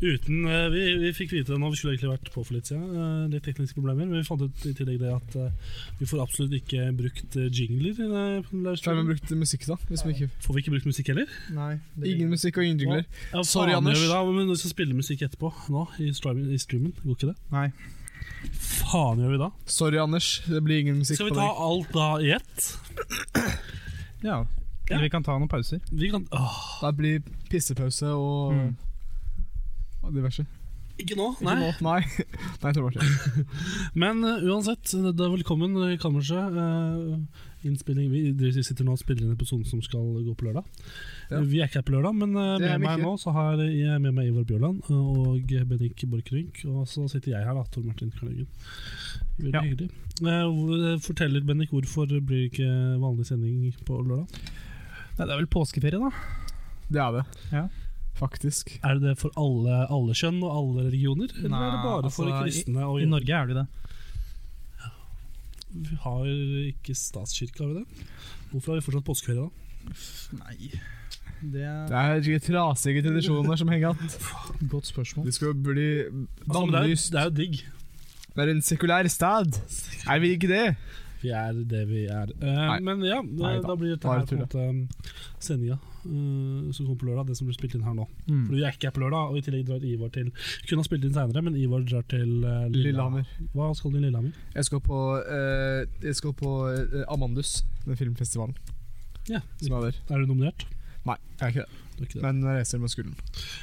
Uten, eh, vi, vi fikk vite det nå, vi skulle egentlig vært på for litt siden. eh, litt tekniske problemer, men vi fant ut i tillegg det at eh, vi får absolutt ikke brukt eh, jingler. eh, på den Tror jeg vi livestreamen. brukte musikk, da. Hvis vi ikke Får vi ikke brukt musikk heller? Nei, det Ingen musikk og ingen jingler. Ja, Sorry, faen Anders. gjør vi Da, men vi skal spille musikk etterpå, nå, i streamen. I streamen. Går ikke det? Nei. Faen gjør vi da? Sorry, Anders. Det blir ingen musikk Skal vi på ta deg. alt da i ett? Ja. Ja. Eller vi kan ta noen pauser. Vi kan Åh, Det blir pissepause og, Mm. og diverse. Ikke nå? Ikke Nei. nå. Nei. Nei, jeg tror bare det. Men eh, uansett, det det er velkommen i kammerset. eh, innspilling vi, Dere sitter nå og spiller inn episoden som skal gå på lørdag. Ja. Eh, Vi er ikke her på lørdag, men eh, Det er med vi meg ikke. nå så har jeg med meg Ivar Bjørland eh, og Bennik Borchgrevink. Og så sitter jeg her, da, Tor Martin Karløggen. Veldig Ja. hyggelig. Eh, hvor- eh, Fortell litt, Bennik, hvorfor blir det ikke vanlig sending på lørdag? Nei, det er vel påskeferie, da. Det er det. Ja. Faktisk. Er det det for alle, alle kjønn og alle religioner, eller Nei, er det bare for altså, i- kristne? Og I Norge er det jo det. Vi har ikke statskirke, har vi det? Hvorfor har vi fortsatt påskeferie, da? Nei Det er Det er ikke trasige tradisjoner som henger igjen. et godt spørsmål. De skal bli Altså, men det, er, bannlyst. det er jo digg. Det er en sekulær stad. Er vi ikke det? Vi er det vi er. Eh, Nei. men ja, det, Nei da. da. blir dette Bare her på en måte um, sendinga eh, som kommer på lørdag. Det som blir spilt inn her nå. Mm. For Vi er ikke her på lørdag, og i tillegg drar Ivar til Vi Kunne ha spilt inn seinere, men Ivar drar til eh, Lillehammer. Lillehammer. Hva skal du i Lillehammer? Jeg skal på, eh, jeg skal på eh, Amandus, den filmfestivalen Ja, som er der. Er du nominert? Nei, jeg er ikke det. Du er ikke det. Men jeg reiser med skolen.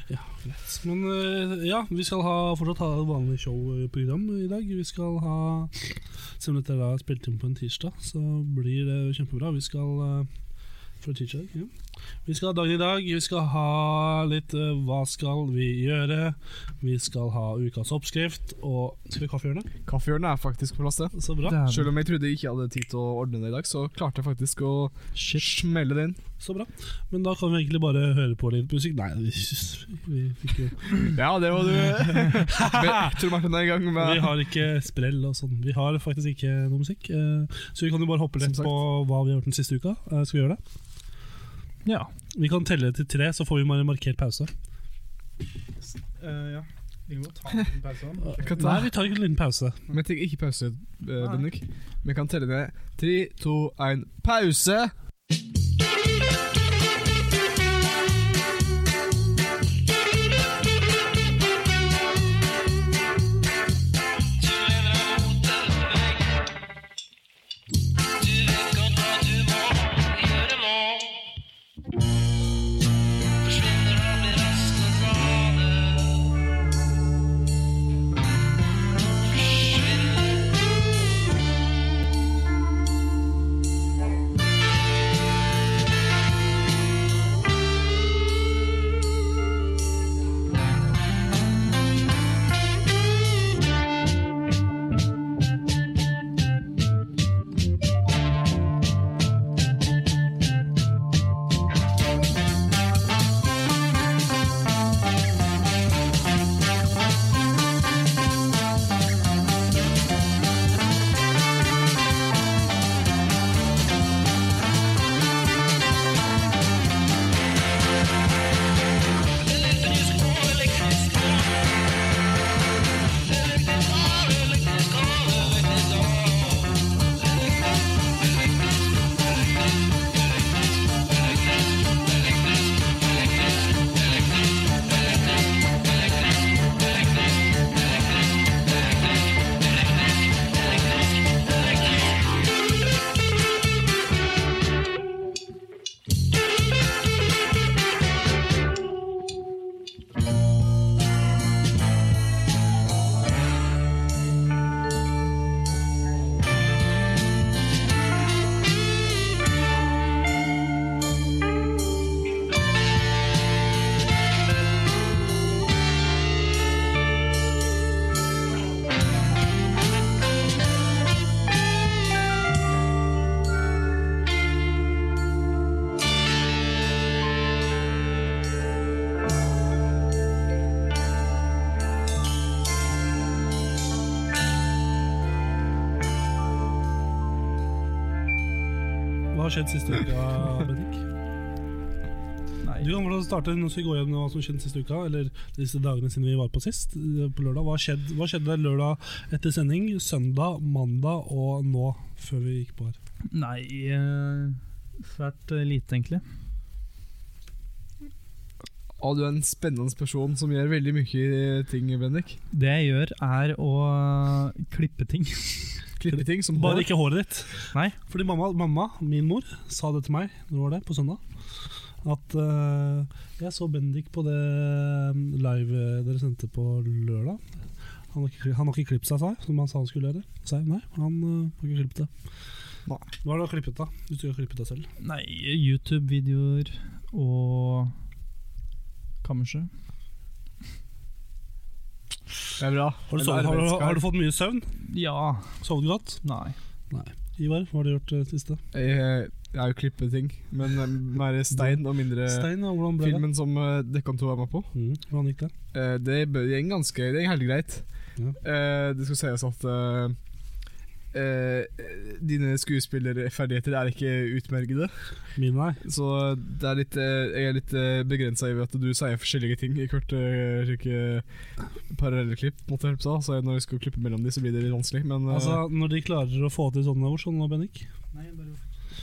Greit. Men eh, ja, vi skal ha, fortsatt ha et vanlig showprogram i dag. Vi skal ha Selv om dette er da spilt inn på en tirsdag, så blir det kjempebra. Vi skal eh, for tirsdag, ja. Vi skal ha dagen i dag, vi skal ha litt eh, Hva skal vi gjøre? Vi skal ha ukas oppskrift, og Skal vi ha kaffehjørnet? Kaffehjørnet er faktisk på plass, det. Så bra. Det er Selv om jeg trodde jeg ikke hadde tid til å ordne det i dag, så klarte jeg faktisk å smelle det inn. Så bra. Men da kan vi egentlig bare høre på litt musikk. Nei, vi, vi fikk jo Ja, det var du. Men Tor Martin er i gang Vi med har ikke sprell og sånn. Vi har faktisk ikke noe musikk. eh, Så vi kan jo bare hoppe rett Som sagt. på hva vi har gjort den siste uka. Eh, Skal vi gjøre det? Ja. Vi kan telle til tre, så får vi bare markert pause. Eh, ja. Vi må ta en pause. Kan ta- Eh, Nei, vi tar ikke en liten pause. Men tenk ikke pause, eh, Bendik. Vi kan telle ned. Tre, to, én, pause! Forsvinner Hva har skjedd siste uka, Bendik? Nei. Du kan vel starte Nå skal vi gå gjennom hva som skjedde siste uka, eller disse dagene siden vi var på sist. eh, På lørdag Hva, skjedd, hva skjedde lørdag etter sending? Søndag, mandag og nå, før vi gikk på her. Nei eh, Svært eh, lite, egentlig. Og du er en spennende person som gjør veldig mye eh, ting, Bendik. Det jeg gjør, er å eh, klippe ting. Klippe ting som Bare hår. ikke håret ditt. Nei. Fordi mamma, mamma, min mor, sa det til meg når det var det, på søndag. At eh, jeg så Bendik på det mm, live eh, dere sendte på lørdag. Han har ikke, han har ikke klippet seg, sa jeg, som han sa han skulle gjøre. Sa jeg, nei, han eh, har ikke klippet det. Nei. Hva har du klippet da, hvis du ikke har klippet deg selv? Nei, YouTube-videoer og kammerset. Det er bra. Har du, En sovet, har, du, arbeidskar. har du fått mye søvn? Ja. Sovet du godt? Nei. Ivar, hva har du gjort eh, siste? Jeg, jeg har jo klippet ting, men eh, mer stein og mindre Stein, ja, hvordan ble det? Eh, filmen som eh, Dekkan 2 er med på. Mm, hvordan gikk det? Eh, det bør- det går ganske Det går helt greit. Eh, det skal sies at eh, eh, dine skuespillerferdigheter er ikke utmerkede. Min, nei. Eh. Så det er litt, eh, jeg er litt eh, begrensa i at du sier forskjellige ting i hvert eh, slike parallellklipp. Måtte jeg på, så når jeg skal klippe mellom de, så blir det litt vanskelig. Men eh, Altså, når de klarer å få til sånne ord, sånn nå, Bendik? Nei, bare nå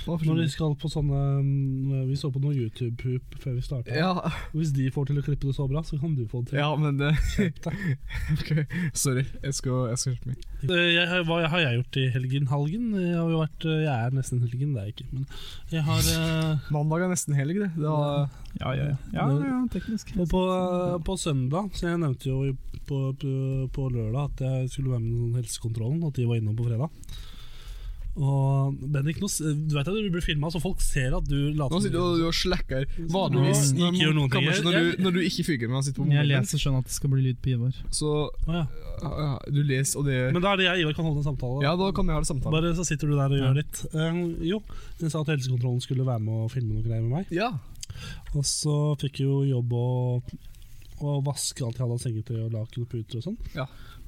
Når forstår de jeg. skal på sånne mm, Vi så på noe YouTube-poop før vi starta. ja, Hvis de får til å klippe det så bra, så kan du få det til. ja, men det Ok, Sorry. Jeg skal, jeg skal hjelpe meg. Eh, Jeg, har- hva har jeg gjort i helgen? Halgen? Jeg, har jo vært, eh, jeg er nesten helgen, det er jeg ikke. Men jeg har eh, Mandag er nesten helg, det. det var, Ja, ja, ja. ja, ja, ja teknisk. og på, eh, på søndag Så jeg nevnte jo på, på, på lørdag at jeg skulle være med i sånn helsekontrollen, at de var innom på fredag. Og Bendik, nå, s- du vet at du blir filma, så folk ser at du nå later sitter du og- du og slakker. Vanligvis Nå ikke gjør noen ting. kanskje når, du, når du ikke fyker med og sitter på Jeg mobilen, leser sånn at det skal bli lyd på Ivar. så Å, ja. ja, Du leser, og det Men da er det jeg og Ivar kan holde en samtale. Ja, da kan vi ha det samtale. Bare så sitter du der og Ja. gjør litt. Eh, jo, jeg sa at helsekontrollen skulle være med og filme noe greier med meg. Ja. Og så fikk jeg jo jobb å, å vaske alt jeg hadde av sengetøy og laken og puter og sånn. Ja.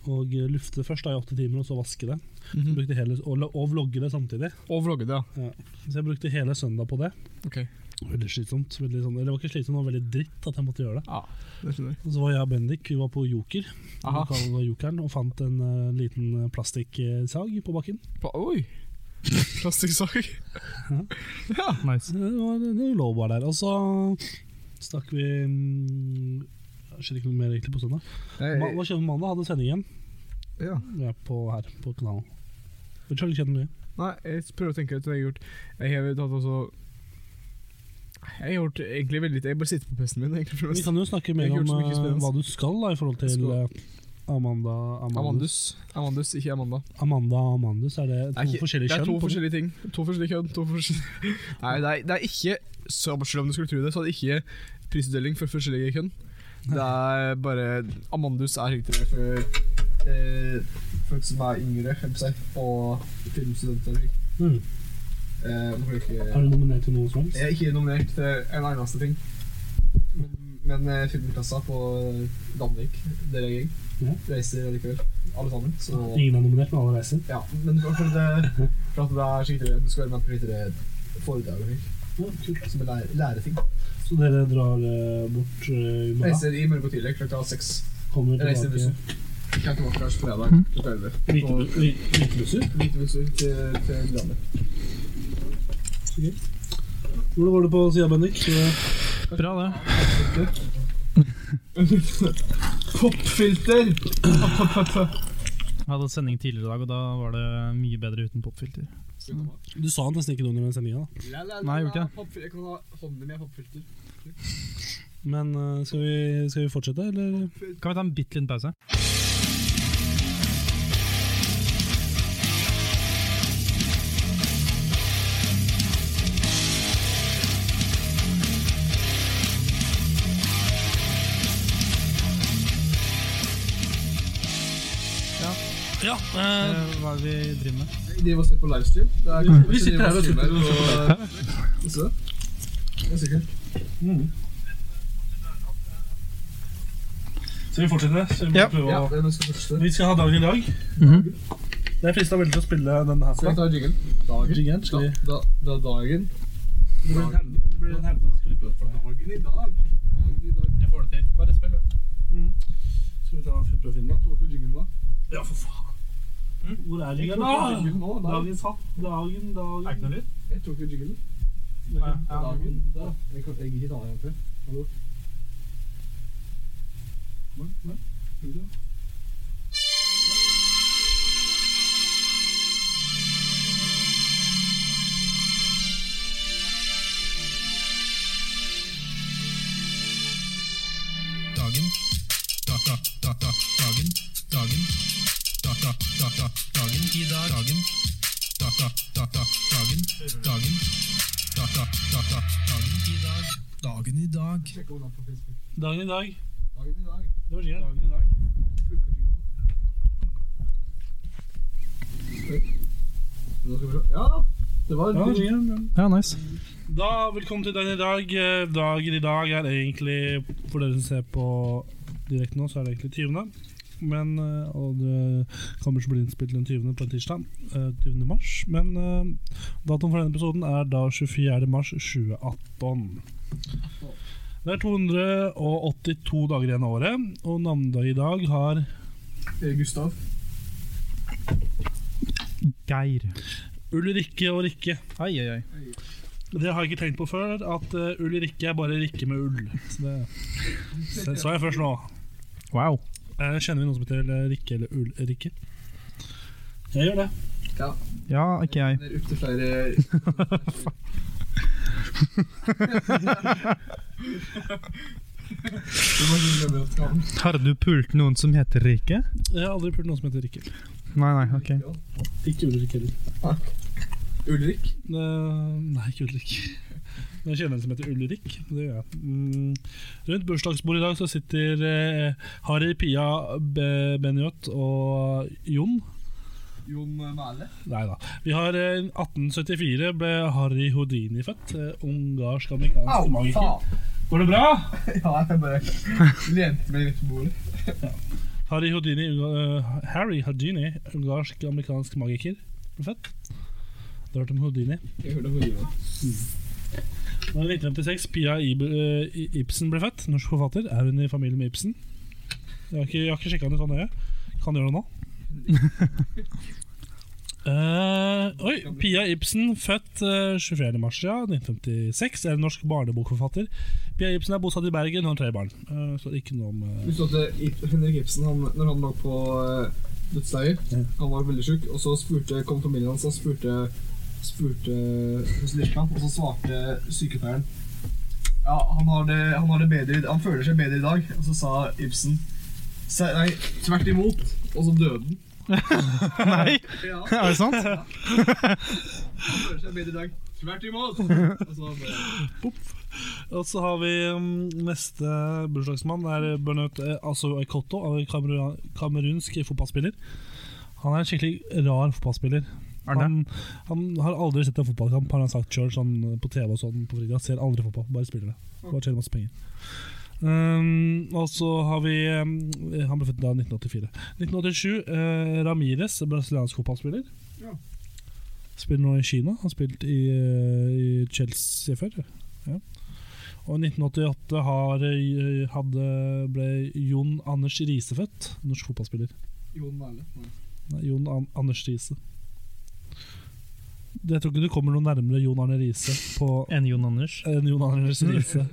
Og eh, lufte først da i åtte timer, og så vaske det. Så Mhm. brukte hele, og, og vlogge det samtidig. Og vlogge det, ja. Så jeg brukte hele søndag på det. Ok. Veldig slitsomt. Veldig sånn, eller det var ikke slitsomt, det var veldig dritt at jeg måtte gjøre det. Ja, det skjønner jeg. Og så var jeg og Bendik, vi var på Joker, Aha. lokalen av Jokeren, og fant en eh, liten eh, plastikksag på bakken. Pa- Oi! Plastikksag. Ja. Nice. Så Det var, det lå bare der. Og så stakk vi mm, Skjedde ikke noe mer egentlig på søndag. Ma- Hva skjedde på mandag? Hadde sending igjen. ja. Vi er på her på kanalen. Vi har ikke skjedd mye. Nei, jeg prøver å tenke ut hva jeg har gjort. Jeg har tatt også Jeg har gjort egentlig veldig lite. Jeg bare sitter på pesten min. egentlig for det Vi meste. kan jo snakke Jeg mer har ikke om gjort så mye eh, spennende. hva du skal da, i forhold Jeg til skal- eh, Amanda Amandus. Amandus. Amandus, ikke Amanda. Amanda og Amandus, er det to Det er ikke- forskjellige Det er kjønn? to på- forskjellige ting. To forskjellige kjønn. To forskjellige... Nei, det er, det er ikke så- Selv om du skulle tro det, så er det ikke prisutdeling for forskjellige kjønn. Det er bare Amandus er riktig for eh, folk som er yngre, jeg vil si, og filmstudenter. Mm. Eh, nå får jeg ikke- Er du nominert til noe som helst? jeg er ikke nominert til en eneste ting. Men- Men eh, filmklassa på Danvik, der jeg Ja. gikk, reiser likevel. Alle sammen. Så Ingen er nominert, men alle reiser. ja. Men for, for, det, for at det er skikkelig, du skal være med på skikkelig foredrag og slik, Ja, kult. som er lære, læreting. Så dere drar eh, bort eh, i morgen? Reiser i morgen tidlig klokka seks. Kommer Jeg reiser i tilbake bussen. Kan tilbake her fredag Mhm. klokka elleve. Hvite Og bu- hvi- hvite busser? hvite busser til, til Drammen. Hvordan går det på sida, Bendik? Bra, det. Popfilter! Jeg hadde sending tidligere i dag, og da var det mye bedre uten popfilter. Du sa nesten ikke noe under den sendinga. Nei, Nei, jeg gjorde ikke det. Jeg kan ha hånden min i popfilter. Men eh, skal, vi, skal vi fortsette, eller? Kan vi ta en bitte liten pause? Ja. Eh, Hva er det vi driver med? Jeg driver og ser på livestream. Det er Vi sitter her og ser på- Se. Det er sikkert. Skal vi fortsette? Så vi Ja. prøver Ja, å- det er skal første. Mhm. Vi skal ha dagen i dag. Jeg frista veldig til å spille den her. Skal jeg for deg. ta jinglen? Dagen. Jinglen, skal vi- Da, da, da dagen. Det blir en helvete- det blir en helvetes klippe for deg. Dagen i dag. Dagen i dag. Jeg får det til. Bare spill, da. Skal vi ta prøve å finne den? Tok du jinglen da? Ja, for faen. Mhm. Hvor er Jeg jingelen? tok jo Ah! jinglen nå. Da. Dagens hatt. Dagen, dagen Er det ikke noe lyd? Jeg tok jo jinglen. dagen, Ja, dagen. dagen, Da. Jeg kan jeg gidder ikke ta den til. Hallo. Nei, nei. Tror du det? dagen, da, da, da, da, dagen, dagen, da, da, da, da, dagen, i dag, dagen, da, da, da, da, dagen, dagen, da, da, da, da, dagen, i dag, dagen i dag. Sjekk om den er på Facebook. dagen i dag. Dagen i dag. Det var jingelen. Dagen i dag. Funker jinglen da? Oi. Nå skal vi se. Ja, det var Ja, jinglen. jingelen, ja. Ja, nice. Da, velkommen til dagen i dag. Eh, Dagen i dag er egentlig, for dere som ser på direkte nå, så er det egentlig 20. Men, eh, og det kommer til å bli innspilt den 20. på en tirsdag, eh, 20. mars. Men eh, datoen for denne episoden er da 24. mars 2018. Det er 282 dager igjen av året, og navnedag i dag har Eh, Gustav. Geir. Ulrikke og Rikke. Ai, ai, ai. Det har jeg ikke tenkt på før, at eh, Ulrikke er bare Rikke med ull. Så det så- så jeg først nå. Wow. Eh, Kjenner vi noen som heter eh, Rikke eller Ulrikke? Jeg gjør det. Ja. Ja, ikke jeg. Det er opp til flere... Du må ikke glemme at skam. Har du pult noen som heter Rike? Jeg har aldri pult noen som heter Rikke. Nei, nei, ok. Ikke Ulrik heller. Ulrik. Eh, nei, ikke Ulrik. Men jeg kjenner en som heter Ulrik. Det gjør jeg. Mm. Rundt bursdagsbordet i dag så sitter eh, Harry, Pia, Be Benjot og Jon. Jon Mæle. Nei da. Vi har eh, 1874 ble Harry Houdini født. Eh, Ungarsk-amerikansk magiker. faen! Går det bra? Ja, jeg bare lente meg litt på bordet. Harry Houdini, uh, Harry Houdini, ungarsk-amerikansk magiker, ble født. Du har hørt om Houdini. Jeg hørte på Jon. Nå er det 1956. Pia Ib eh, I- Ibsen ble født. Norsk forfatter. Er hun i familie med Ibsen? Jeg har ikke, jeg har ikke sjekka henne så nøye. Kan gjøre det nå. Eh, oi! Pia Ibsen, født eh, 24. mars ja, 1956. Er en norsk barnebokforfatter. Pia Ibsen er bosatt i Bergen og har tre barn. Uh, så ikke noe om eh, Husk at Ip- Henrik Ibsen, han, når han lå på eh, dødsleiet, Ja. han var veldig syk, og så spurte, kom familien hans og spurte, spurte hos legen, og så svarte sykepleieren Ja, han har, det, han har det bedre i- Han føler seg bedre i dag. Og så sa Ibsen "Se- Nei, tvert imot. Og så døde han. Nei, Ja, er det sant? han føler seg bedre i dag. Tvert imot. Og så bare, Og så har vi mm, neste bursdagsmann. Det er Bernard eh, altså Cotto, kamerunsk fotballspiller. Han er en skikkelig rar fotballspiller. Er det? Han, han har aldri sett en fotballkamp, har han sagt sjøl, sånn på TV og sånn på fritida. Ser aldri fotball, bare spiller det. Bare tjener masse penger. Um, og så har vi um, Han ble født da i 1984. 1987. Eh, Ramires, brasiliansk fotballspiller. Ja. Spiller nå i Kina. Han spilte i, eh, i Chelsea før. Ja. Og i 1988 har, eh, hadde, ble Jon Anders Riise født. Norsk fotballspiller. Jon Mæhle. Nei. Nei, Jon An Anders Riise. Jeg tror ikke du kommer noe nærmere Jon Arne Riise på En Jon Anders. enn Jon Anders Riise.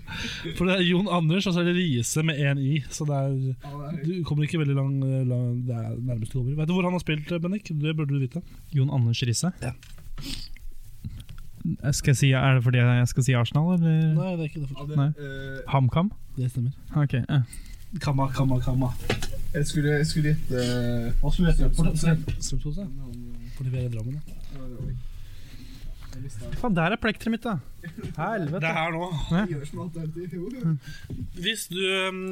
For det er Jon Anders, og så er det Riise med én i. Så det er Ja, det er Du kommer ikke veldig lang, lang Det er nærmest du kommer. Vet du hvor han har spilt, Bennik? Det burde du vite. Jon Anders Riise? Eh, Skal jeg si, er det fordi jeg skal si Arsenal, eller? Nei, det er ikke det. Ja, det, Nei. eh, HamKam? Det stemmer. Ok, ja. Kamma, kamma, kamma. jeg skulle jeg skulle gjette Hva skulle jeg for det? Strømsgodset? Fordi vi er i Drammen, ja. Faen, der er plekteret mitt, da. Det Helvete. er her nå. Gjør som alt er til. Jo, jo. Hvis du, øhm,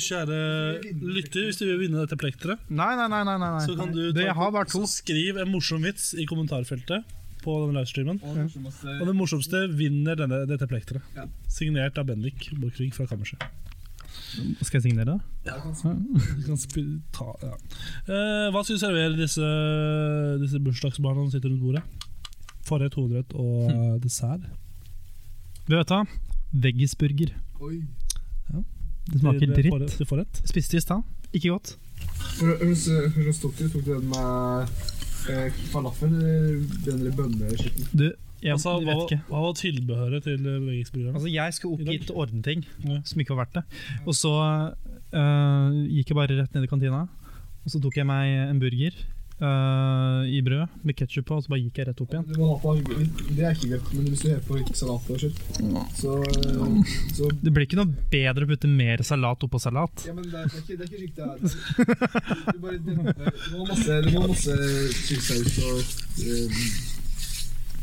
kjære lytter, hvis du vil vinne dette plekteret Nei, nei, nei. nei, nei. nei. Så kan du det, ta- jeg har bare to. Så skriv en morsom vits i kommentarfeltet på denne livestreamen. Og kanskje masse Og den morsomste vinner denne, dette plekteret. Ja. Signert av Bendik Borchgrevink fra Kammerset. Skal jeg signere, da? Vi kan spi- ta, ja. eh, hva skal du servere disse, disse bursdagsbarna som sitter rundt bordet? Forrett, hovedrett og Hm. eh, dessert. Du vet da, veggisburger. Oi. Det smaker Til eh, dritt. forrett- Til forrett. Spiste i stad. Ikke godt. Høres høres topp ut. Tok du den med eh, falafel eller den der bønneskitten? Du, jeg Altså, hva, vet ikke. hva var tilbehøret til eh, VGX-burgeren? Altså, jeg skulle opp I dag. hit og ordne ting Ja. som ikke var verdt det. Og så øh, gikk jeg bare rett ned i kantina, og så tok jeg meg en burger øh, i brød med ketsjup på, og så bare gikk jeg rett opp igjen. Du må ha på Det er ikke greit, men hvis du har på ikke salat og kjøtt, så, eh, så Det blir ikke noe bedre å putte mer salat oppå salat. Ja, men det er, det er ikke, det er ikke skikt det her. Du bare demper. Du må ha masse, du må ha masse chilisaus og um,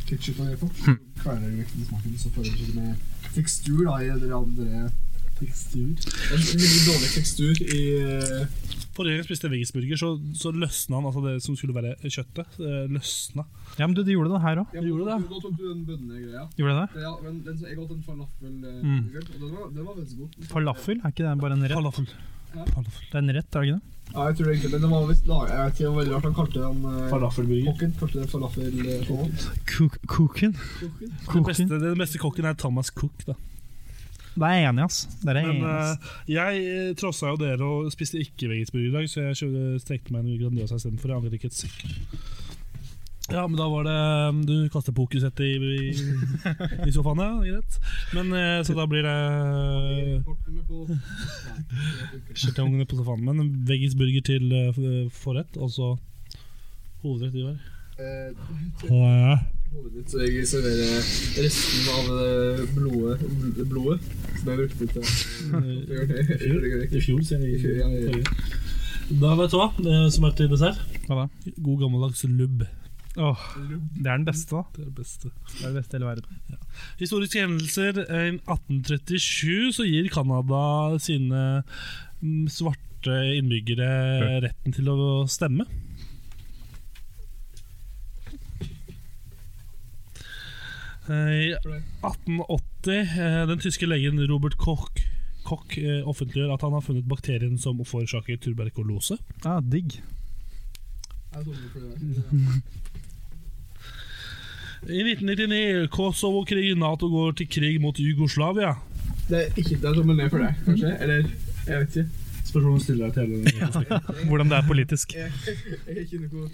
ketchup og greier på. Så Kverner du vekk den smaken, så føler du ikke med tekstur da, i det andre Tekstur? Det er en veldig dårlig tekstur i eh, Altså- Forrige gang jeg spiste VGX-burger, så, så løsna han, altså det som skulle være kjøttet, eh, løsna. Ja, men du, du gjorde det her òg. ja, Gjorde det? Da tok du den bønnegreia. Gjorde jeg det? Ja, men den, som- jeg har hatt en falafel, eh, Mm. burger, og den var, den var veldig god. Falafel? Er ikke det bare en rett? Falafel. Ja. Falafel. Det er en rett, er det ikke det? Ja, jeg tror egentlig, men den var visst laget, jeg vet ikke, det var veldig rart, han kalte den eh, Falafelburger. kokken, kalte det falafel eh, kokken. Cook, cooken? Kokken? Den Koken? beste, den beste kokken er Thomas Cook, da. Da er jeg enig, ass. Der er jeg Men enig, ass. eh, jeg eh, trossa jo dere og spiste ikke VGX-burger i dag, så jeg kjø- stekte meg en Grandiosa istedenfor. Jeg angrer ikke et sekk. Ja, men da var det eh, Du kaster pokersettet i, i, i sofaen, ja. Greit. Men eh, så da blir det Kortene på... Skjertongene på sofaen. Men veggisburger til eh, f- forrett, og så hovedrett i år. Eh, Ja. hodet ditt, så jeg serverer resten av eh, blodet, bl- blodet som jeg brukte til I å gjøre det. Jeg gjør det ikke. fjor, sier I fjor, ja, ja, ja. Forrige. Da vet du hva eh, som er til dessert. Hva da? God gammeldags lubb. Åh, det er den beste, da. Det er det beste. Det er det beste i hele verden. Historiske hendelser. I 1837 så gir Canada sine mm, svarte innbyggere retten til å stemme. Eh, I 1880 eh, den tyske legen Robert Koch, Koch eh, offentliggjør at han har funnet bakterien som forårsaker tuberkulose. Ah, digg. Jeg trodde det ble- I 1999 Kosovo-krigen. Nato går til krig mot Jugoslavia. Det er ikke det er tommel ned for deg, kanskje? Eller, jeg vet ikke. Spørsmålet stiller deg til hele den Hvordan det er politisk. Jeg er ikke noe...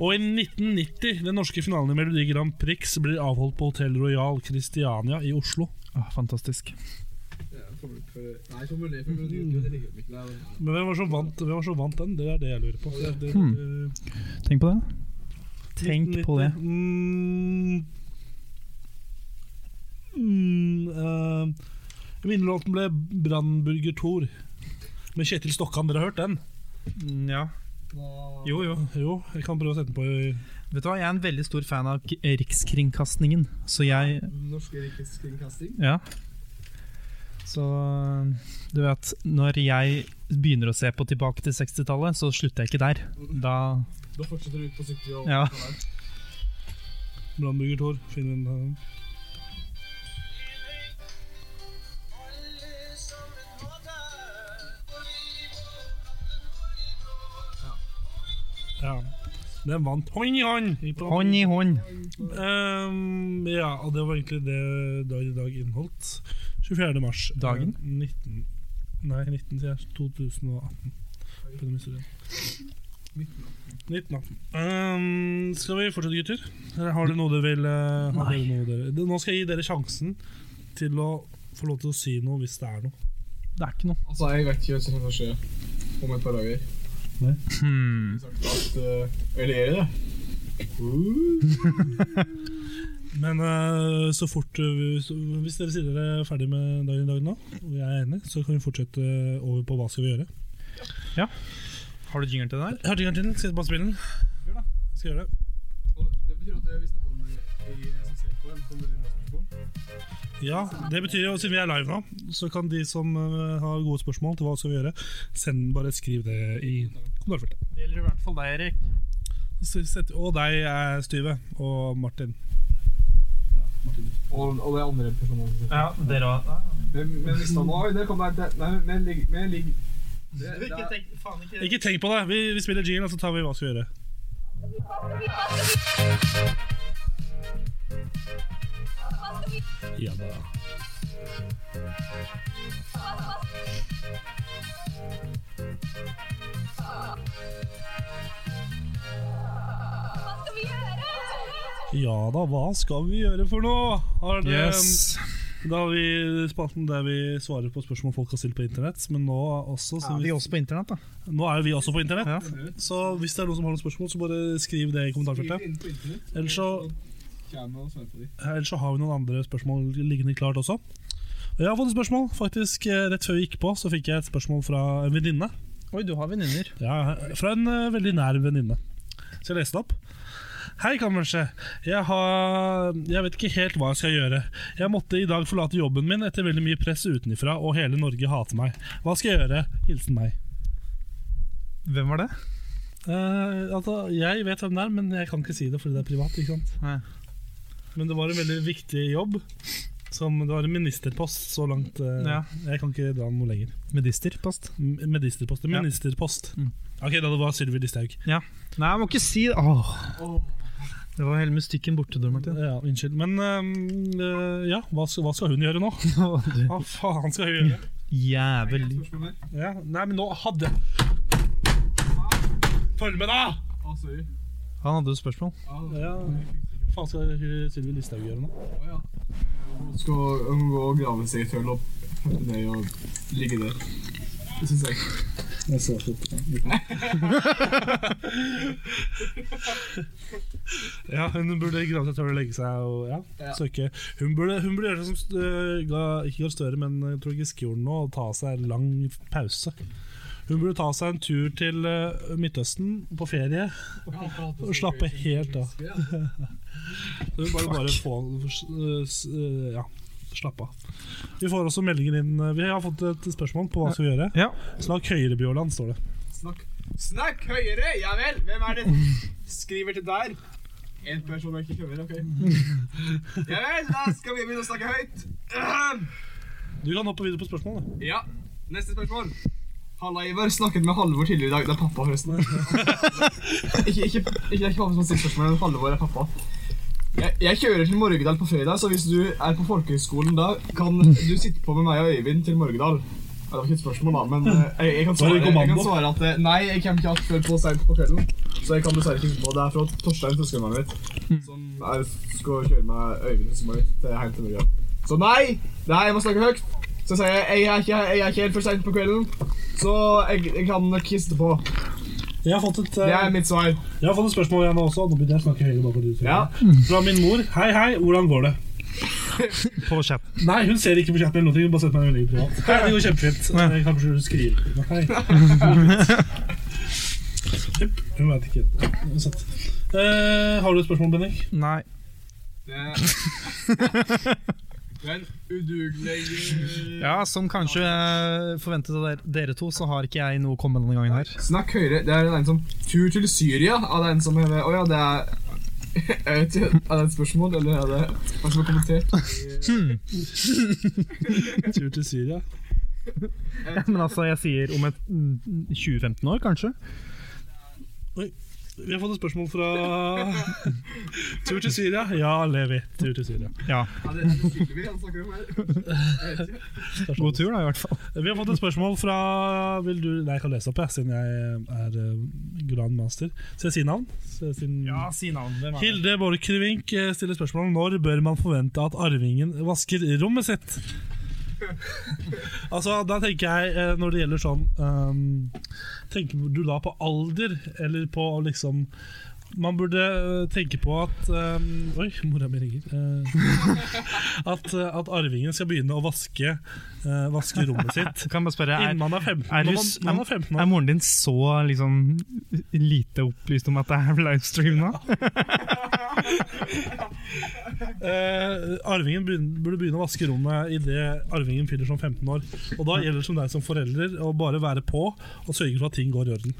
Og i 1990, den norske finalen i Melodi Grand Prix blir avholdt på Hotell Royal Christiania i Oslo. Åh, fantastisk. Ja, tommel opp for... Nei, tommel ned for Melodi, det liker jeg ikke. Nei, nei. Men hvem var som vant, hvem var som vant den? Det er det jeg lurer på. Det, det, Hmm. Tenk på det. Tenk på det. 1990. Mm, mm, eh, jeg minner om at den ble Brannburger Thor med Kjetil Stokkan. Dere har hørt den? Mm, Ja. Hva- Jo, jo. Jo, jeg kan prøve å sette den på. i- Vet du hva, jeg er en veldig stor fan av k- Rikskringkastingen, så jeg Norske rikets kringkasting? Ja. Så du vet, når jeg begynner å se på tilbake til 60-tallet, så slutter jeg ikke der. Da Da fortsetter du ut på 70 og... Ja. Brannburger Thor. Finn den eh, her. Ja. Den vant hånd i hånd! i Brannburger hånd i hånd. Ehm, ja, og det var egentlig det dag i dag inneholdt. 24. mars. eh, Dagen? 19, nei, 19 sier jeg. 2018. På den historien. 1918. Ehm, skal vi fortsette, gutter? Eller har dere noe dere vil eh, har Nei. dere noe dere, det- Nå skal jeg gi dere sjansen til å få lov til å si noe hvis det er noe. Det er ikke noe. Altså, jeg vet ikke hva som kommer til å skje om et par dager. Hmm. Sagt at... eh, Eller er det det? Men eh, så fort eh, vi- så, Hvis dere sier dere er ferdig med dagen i dag nå, og jeg er enig, så kan vi fortsette eh, over på hva skal vi gjøre. Har du jingle til den her? Hørte ikke den? Skal jeg bare spille den? Skal jeg gjøre det? Og det betyr at vi snakker om det i som ser på, eller som dere snakker på. Ja, det betyr jo, siden vi er live nå, så kan de som eh, har gode spørsmål til hva skal vi gjøre, send bare skriv det i kommentarfeltet. Det gjelder i hvert fall deg, Erik. Så sett- Og deg, eh, Styve, og Martin. Og, og det er andre personer som sitter. Ja, dere òg. Men, men hvis han Oi, det kommer det- Nei, men ligg men ligg- det- det er- tenk, faen ikke Ikke tenk på det. Vi, vi spiller jingle, og så tar vi hva vi skal gjøre. Ja da. Ja da, hva skal vi gjøre for noe? Har dere- Yes. Da har vi spalten der vi svarer på spørsmål folk har stilt på internett. Men nå er også, så Ja, vi hvis- er også på internett, da. nå er jo vi også på internett. Ja. Så hvis det er noen som har noen spørsmål, så bare skriv det i kommentarfeltet. Inn på internett, Ellers så, kommer og svarer på de. ellers så har vi noen andre spørsmål liggende klart også. Og Jeg har fått et spørsmål. faktisk eh, Rett før vi gikk på, så fikk jeg et spørsmål fra en venninne. Oi, du har venninner. Ja, fra en eh, veldig nær venninne. Så jeg leste opp. Hei, kammerset. Jeg, har, jeg vet ikke helt hva jeg skal gjøre. Jeg måtte i dag forlate jobben min etter veldig mye press utenfra, og hele Norge hater meg. Hva skal jeg gjøre? Hilsen meg. Hvem var det? Eh, altså, jeg vet hvem det er, men jeg kan ikke si det fordi det er privat. ikke sant? Nei. Men det var en veldig viktig jobb. Som, det var en ministerpost så langt. eh, Ja. Jeg kan ikke dra den noe lenger. Medisterpost. M- Medisterpost. Ja. Ministerpost. Mm. Ok, da det var Sylvi Listhaug. Nei, jeg må ikke si det. Åh. Det var hele mystikken borte, du, Martin. Ja, unnskyld. Men ehm, eh, ja, hva skal, hva skal hun gjøre nå? Du Hva faen skal hun gjøre? Jævel. Spørsmål der? Ja, nei, men nå hadde Følg med, da! Ah, sorry. Han hadde jo spørsmål. Ah, Ja, hva faen skal hun Sylvi Listhaug gjøre nå? Å ja. Hun skal hun gå og grave seg i et hull og putte ned og ligge der. Det syns jeg. Ja, Hun burde grave seg til å legge seg og ja, Ja. søke. Hun burde, hun burde gjøre sånn som øh, ga- ikke Gahr Støre, men jeg tror Giske gjorde det nå, og ta seg en lang pause. Hun burde ta seg en tur til øh, Midtøsten på ferie og slappe helt av. Så vi bare, bare få øh, s- øh, Ja, slapp av. Vi får også meldinger inn øh, Vi har fått et spørsmål på hva skal vi gjøre. Ja. Snakk høyere, Bjørland, står det. Snakk, snakk høyere! Ja vel, hvem er det skriver til der? En person jeg ikke kjenner, ok. Ja vel, da skal vi begynne å snakke høyt. Ahem. Du kan hoppe videre på spørsmålet. da. Ja, neste spørsmål. Halla, Ivar. Snakket med Halvor tidligere i dag. Det er pappa, forresten. ikke, ikke, ikke, det er ikke pappa som har stilt spørsmålet, men Halvor er pappa. Jeg, jeg kjører til Morgedal på fredag, så hvis du er på folkehøyskolen da, kan du sitte på med meg og Øyvind til Morgedal. Ja, det var ikke et spørsmål, da, men eh, jeg, jeg, kan, Var svare, det jeg kommando? kan svare at eh, Nei, jeg kommer ikke att før så seint på kvelden. Så jeg kan dessverre ikke på. Det er fra Torstein, søskenbarnet mitt, som er, skal kjøre med Øyvind og Smøy til hjem til Morgedal. Så nei! Nei, jeg må snakke høyt. Så sier jeg jeg er ikke, jeg er ikke helt for seint på kvelden, så jeg, jeg kan nok kiste på. Jeg har fått et, øh, Det er mitt svar. Jeg har fått et spørsmål igjen nå også. Nå begynner jeg å snakke høyere bare fordi du sier Ja. det. Fra min mor. Hei, hei, hvordan går det? På chat. Nei, hun ser ikke på chatten eller noe. Hun bare setter meg en melding privat. Hei, det går kjempefint. Eh, Kanskje du skriver ikke noe. Hei. Jepp, Hun veit ikke. Uansett. Eh, har du et spørsmål, Bennik? Nei. Det er det er en udugelig Ja, som kanskje eh, forventet av dere- dere to, så har ikke jeg noe å komme med denne gangen her. Snakk høyere. Det er en som Tur til Syria av den som heter Å ja, det er jeg vet ikke, Er det et spørsmål, eller er det noen som har kommentert? Tur til Syria. Men altså, jeg sier om et mm, 20-15 år, kanskje. Vi har fått et spørsmål fra Tur til Syria. Ja, Levi. Tur til Syria. Ja. Er det, er det Sylvi han snakker om her? Jeg vet ikke. God tur, da, i hvert fall. Vi har fått et spørsmål fra Vil du Nei, jeg kan lese opp, jeg, siden jeg er eh, grandmaster. Skal jeg si navn? Skal jeg si si navn. Hilde Borchgrevink eh, stiller spørsmål når bør man forvente at arvingen vasker rommet sitt. altså, da tenker jeg, eh, når det gjelder sånn ehm, Tenker du da på alder, eller på liksom Man burde eh, tenke på at ehm, Oi, mora mi ringer. Eh, at, eh, at arvingen skal begynne å vaske, eh, vaske rommet sitt. Kan jeg bare spørre, Innen er, man er 15. når er, du, man, s- når man er 15 er år. moren din så liksom lite opplyst om at det er livestream nå? Eh, arvingen begyn- burde begynne å vaske rommet idet arvingen fyller som 15 år. Og da gjelder det som deg som forelder å bare være på og sørge for at ting går i orden.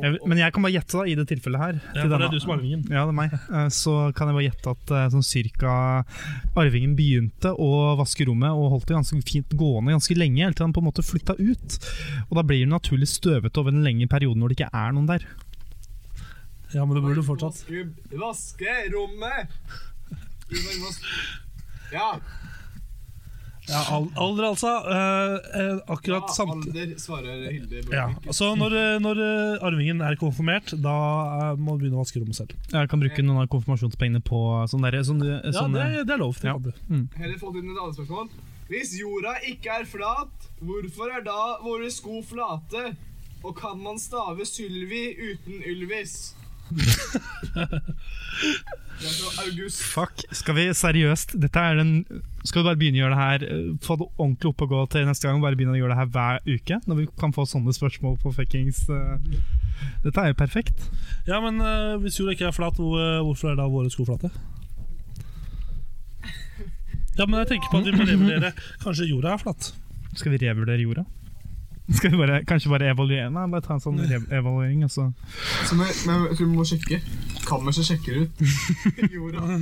Jeg, vil- men jeg kan bare gjette da, i det tilfellet Ja, her. til for det denne- er du som er arvingen. Ja, det er meg. Eh, Så kan jeg bare gjette at eh, sånn cirka arvingen begynte å vaske rommet og holdt det ganske fint gående ganske lenge, helt til han på en måte flytta ut. Og da blir det naturlig støvete over en lengre periode når det ikke er noen der. Ja, men det burde du fortsatt. Vaske- Vaske rommet! Ivar, vask- Ja, Ja, al- alder, altså. Eh, eh, ja, akkurat samtidig. alder, svarer Hilde. Ja, så når, eh, når eh, arvingen er konfirmert, da eh, må du begynne å vaske rommet selv. Jeg kan bruke noen av konfirmasjonspengene på sånn derre sånn, Ja, sånn, det, det er lov. Det ja. kan du. Heller fått inn et annet spørsmål. Hvis jorda ikke er flat, hvorfor er da våre sko flate? Og kan man stave Sylvi uten Ylvis? Det er fra August. Fuck, skal vi seriøst Dette er den Skal vi bare begynne å gjøre det her eh, Få det ordentlig opp og gå til neste gang Og bare begynne å gjøre det her hver uke Når vi kan få sånne spørsmål på fuckings eh, Dette er jo perfekt Ja, men eh, hvis jorda ikke er flat, hvor, eh, hvorfor er da våre sko flate? Ja, men jeg tenker på at vi må revurdere. Kanskje jorda er flatt. Skal vi revurdere jorda? Skal vi bare, kanskje bare evaluere Nei, bare ta en sånn rev- evaluering og så- Så må, jeg- men jeg tror vi må sjekke. Kammerset sjekker ut jorda.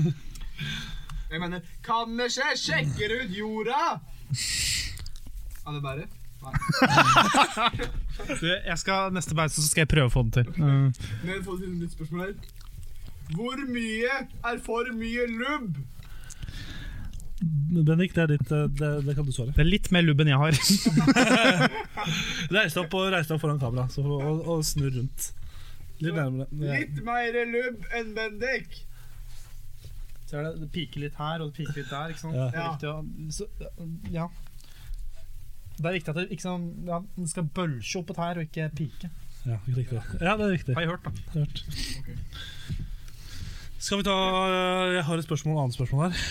Jeg mener Kammerset sjekker ut jorda! Er det bare? Du, jeg skal Neste pause så skal jeg prøve å få det til Eh, Men jeg har fått et nytt spørsmål her. Hvor mye er for mye lubb? Bendik, det er ditt. eh, Det, det kan du svare. Det er litt mer lubb enn jeg har Reis deg opp, og reis deg opp foran kamera så, og, og snurr rundt. Litt nærmere. Ja. Litt mer lubb enn Bendik. det, piker litt her og det piker litt der Ikke sant? Ja. Det er ja Det er viktig at det, ikke sant, den skal bølse opp et her og ikke pike Ja, riktig. ja, det er riktig. Har jeg hørt da Hørt. Skal vi ta eh, Jeg har et spørsmål, annet spørsmål her.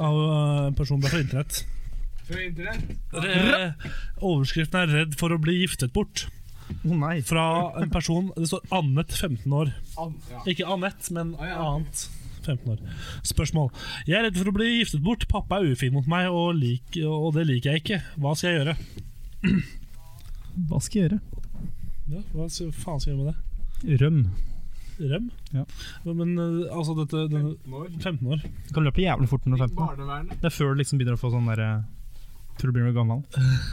Av eh, en person der fra internett. Fra internett. Re- Overskriften er 'Redd for å bli giftet bort'. Å nei. Fra en person Det står Annet, 15 år. An ja. Ikke Anett, men Ah, ja. annet. 15 år. Spørsmål. Jeg er redd for å bli giftet bort. Pappa er ufin mot meg, og, lik, og det liker jeg ikke. Hva skal jeg gjøre? Hva skal jeg gjøre? Ja, hva s- faen skal jeg gjøre med det? Røm. Røm? Ja. Men eh, altså, dette denne, 15 år. Du kan løpe jævlig fort når du er 15. da. Barnevernet. Det er før du liksom begynner å få sånn derre Tror du blir noe gammel.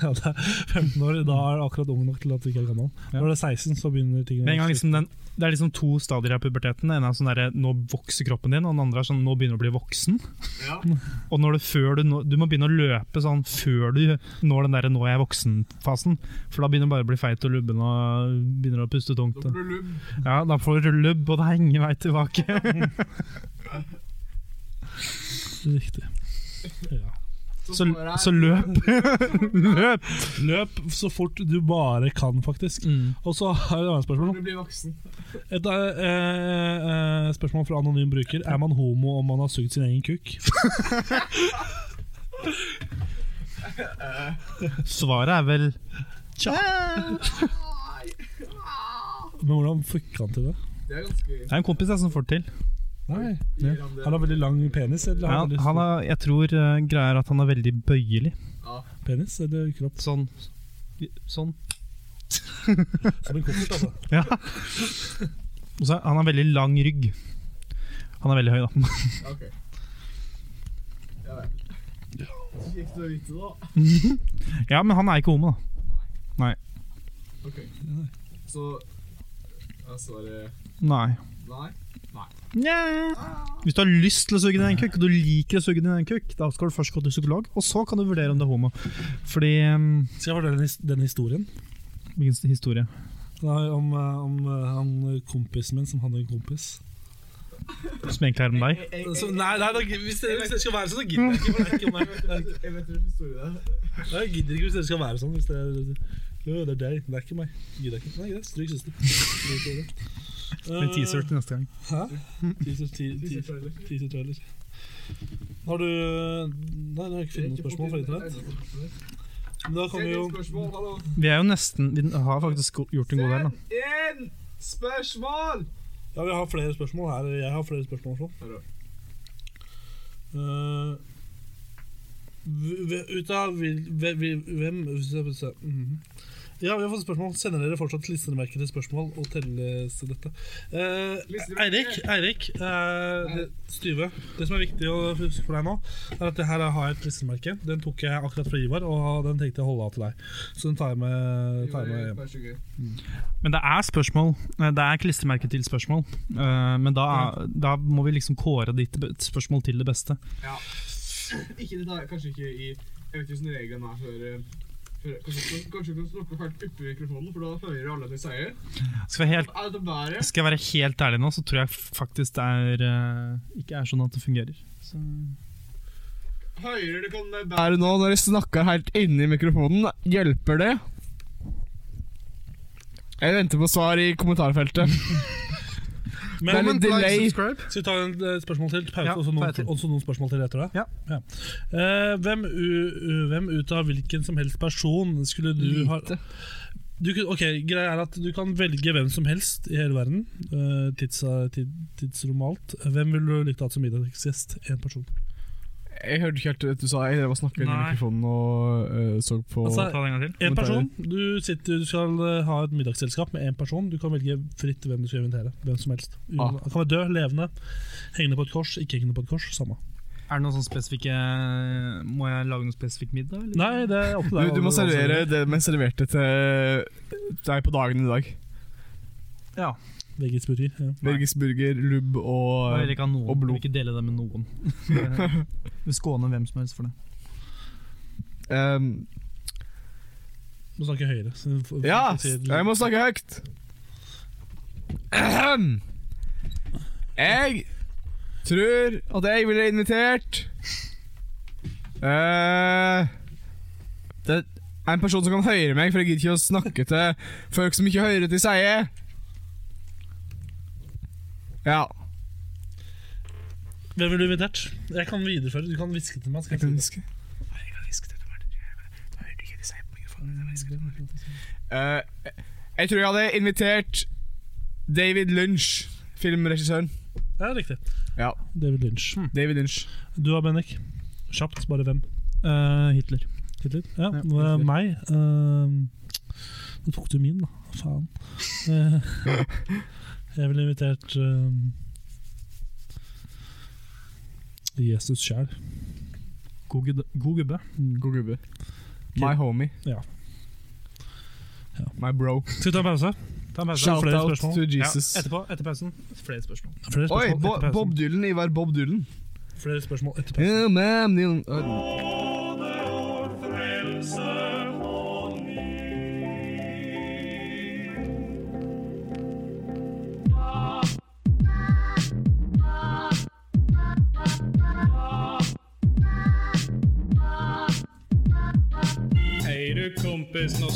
Ja, det er 15 år, Da er du akkurat ung nok til at du ikke er gammel. Ja. Når du er 16, så begynner ting å Med en gang liksom den, det er liksom to stadier av puberteten. Den ene er sånn derre nå vokser kroppen din, og den andre er sånn nå begynner du å bli voksen. Ja. Og når du, før du, nå- du må begynne å løpe sånn før du når den derre nå er jeg voksen-fasen. For da begynner du bare å bli feit og lubben og begynner å puste tungt. Da blir du lubb. Ja, da får du lubb, og det er ingen vei tilbake. Riktig. Ja. Så, står det her, så løp. løp! Løp så fort du bare kan, faktisk. Mm. Og så har jeg et annet spørsmål. Du blir voksen. Et eh, eh, spørsmål fra anonym bruker. Er man homo om man har sugd sin egen kuk? Svaret er vel Men hvordan fikk han til det? Det er ganske Det er en kompis jeg som får det til. Nei. gir han det- Han har veldig lang penis? Eller har Ja, veldig han er, jeg tror uh, greier at han er veldig bøyelig. stor penis eller kropp? Sånn. Sånn. Som en koffert, altså. Ja. Og så er- han har veldig lang rygg. Han er veldig høy, da. Ok. Ja vel. Så Kjekt å vite, da. Ja, men han er ikke homo, da. Ok. Så Jeg svarer Nei. nei. Nja. Hvis du har lyst til å suge din egen kukk, og du liker å suge din egen kukk, da skal du først gå til psykolog, og så kan du vurdere om det er homo. Fordi um, Skal jeg fortelle den his- den historien? Hvilken historie? Nei, om, eh, om eh, han kompisen min som hadde en kompis. Som egentlig er om deg? Jeg, jeg, Så, jeg, nei, nei da, hvis, dere, hvis dere skal være sånn, så gidder jeg ikke. For det er ikke om meg. Det er ikke- jeg vet hvilken historie det er. Jeg gidder ikke hvis dere skal være sånn. Hvis dere, jo, det er deg, det er ikke meg. Gidder jeg ikke. Nei, greit. Stryk søster. Stryk det. Med teaser til neste gang. Hæ? Teaser, te- te- teaser trailer. Har du Nei, jeg har ikke funnet noe spørsmål fra internett. Men da kommer jo Send inn spørsmål, hallo. Vi er jo nesten Vi har faktisk gjort en god del, da. Send inn spørsmål! Ja, vi har flere spørsmål her. Jeg har flere spørsmål også. Her da. Eh, v- v- ut av hvil- ve- vi- hvem hvis jeg- hvis jeg- mhm. Ja, vi har fått spørsmål. Sender dere fortsatt listemerkede spørsmål og telles til dette? Eh, Eirik, Eirik eh, det- Styve. Det som er viktig å huske for deg nå, er at det her har jeg et listemerke. Den tok jeg akkurat fra Ivar, og den tenkte jeg å holde av til deg. Så den tar jeg med, tar jeg med hjem. Vær så god. Men det er spørsmål. Eh, Det er klistremerke til spørsmål. Eh, Men da, er- da må vi liksom kåre ditt be- spørsmål til det beste. Ja. Ikke det da, kanskje ikke i Jeg vet ikke hvordan reglene er for, eh, for Kanskje kanskje du kan snakke helt oppi mikrofonen, for da hører alle at jeg sier Skal jeg, helt, Er det været? skal jeg være helt ærlig nå, så tror jeg faktisk det er eh, ikke er sånn at det fungerer. Så. Hører du kan det bære nå når jeg snakker helt inni mikrofonen? Hjelper det? Jeg venter på svar i kommentarfeltet. Det Men- er litt delay. Skal vi ta en eh, spørsmål til? Pause, Ja, og så ta noen, et til. også noen spørsmål til etter det? Ja. Eh, hvem, u, u, hvem ut av hvilken som helst person skulle du ha du, kunne- Ok, Greia er at du kan velge hvem som helst i hele verden. eh, tids, tid, tidsromalt. Hvem ville du likt å ha som middagsgjest? Én person. Jeg hørte ikke helt det du sa. Jeg drev og snakket inn i Nei. mikrofonen og eh, så på Altså, Ta det en gang til. Kommentarer. En person. Du, sitter, du skal eh, ha et middagsselskap med én person. Du kan velge fritt hvem du skal invitere. Hvem som helst. Ah. Han kan være død, levende, hengende på et kors, ikke hengende på et kors. Samme. Er det noen sånn spesifikke eh, Må jeg lage noen spesifikk middag? Eller? Nei, det er opp til Du, deg. du må hva- hva som servere det vi serverte til deg på dagen i dag. Ja. Veggisburger. Ja. Bergis burger, lubb Og og jeg vil ikke ha noen. og blod. Jeg vil ikke dele det med noen. Jeg vil skåne hvem som helst for det. ehm, Må snakke høyere. Så f- f- Ja, sier- jeg må snakke høyt. Ahem. Jeg tror at jeg ville invitert eh, Det er en person som kan høre meg, for jeg gidder ikke å snakke til folk som ikke hører til seg. Ja. Hvem ville du invitert? Jeg kan videreføre. Du kan hviske til meg. Skal jeg si det. Eh, jeg tror jeg hadde invitert David Lynch, filmregissøren. Ja, riktig. Ja. Hmm. David Lynch. David Lynch. Du da, Bennik? Kjapt, bare hvem? Eh, Hitler. Hitler? Ja, Ja, nå er Hitler. meg. Uh, nå tok du min, da. Faen. Eh, jeg ville invitert ehm, eh, Jesus sjæl. God, gud- god gubbe. Mm, God gubbe. My homie. Ja. Ja. My bro. Skal vi ta en pause? Ta en Shout pause. Shout flere out spørsmål? to Jesus. Ja, etterpå, etter pausen, flere spørsmål. Flere spørsmål, Oi, etter Bo pausen. Bob Dylan, Ivar Bob Dylan. Flere spørsmål etter pausen. Yeah, man, Dylan. Uh, Hei du kompis, nå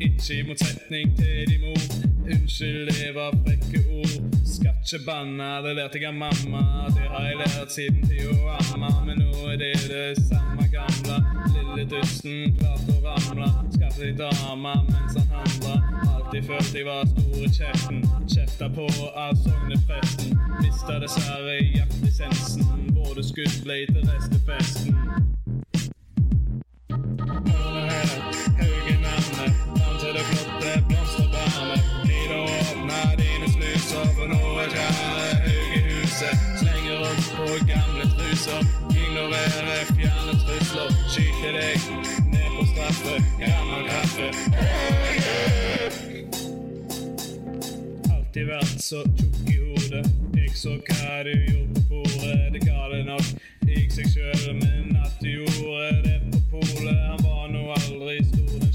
ikke i motsetning til de mor. Unnskyld, det var frekke ord. Skal ikke banne, det lærte jeg av mamma. Det har jeg lært siden Tijuana. Men nå er det det samme gamle. Lille dusten klarte å ramle. Skaffet seg dame mens han handla. Alltid følt jeg var store kjeften. Kjefta på av sognepresten. Mista dessverre jaktlisensen. Både skudd ble til restefesten. Skyter deg ned på straffe, gammel kaffe. alltid vært så tjukk i hodet. Jeg så hva du gjorde på bordet, det ga det nok i seg sjøl. Men at du gjorde det på polet, han var nå aldri stor, den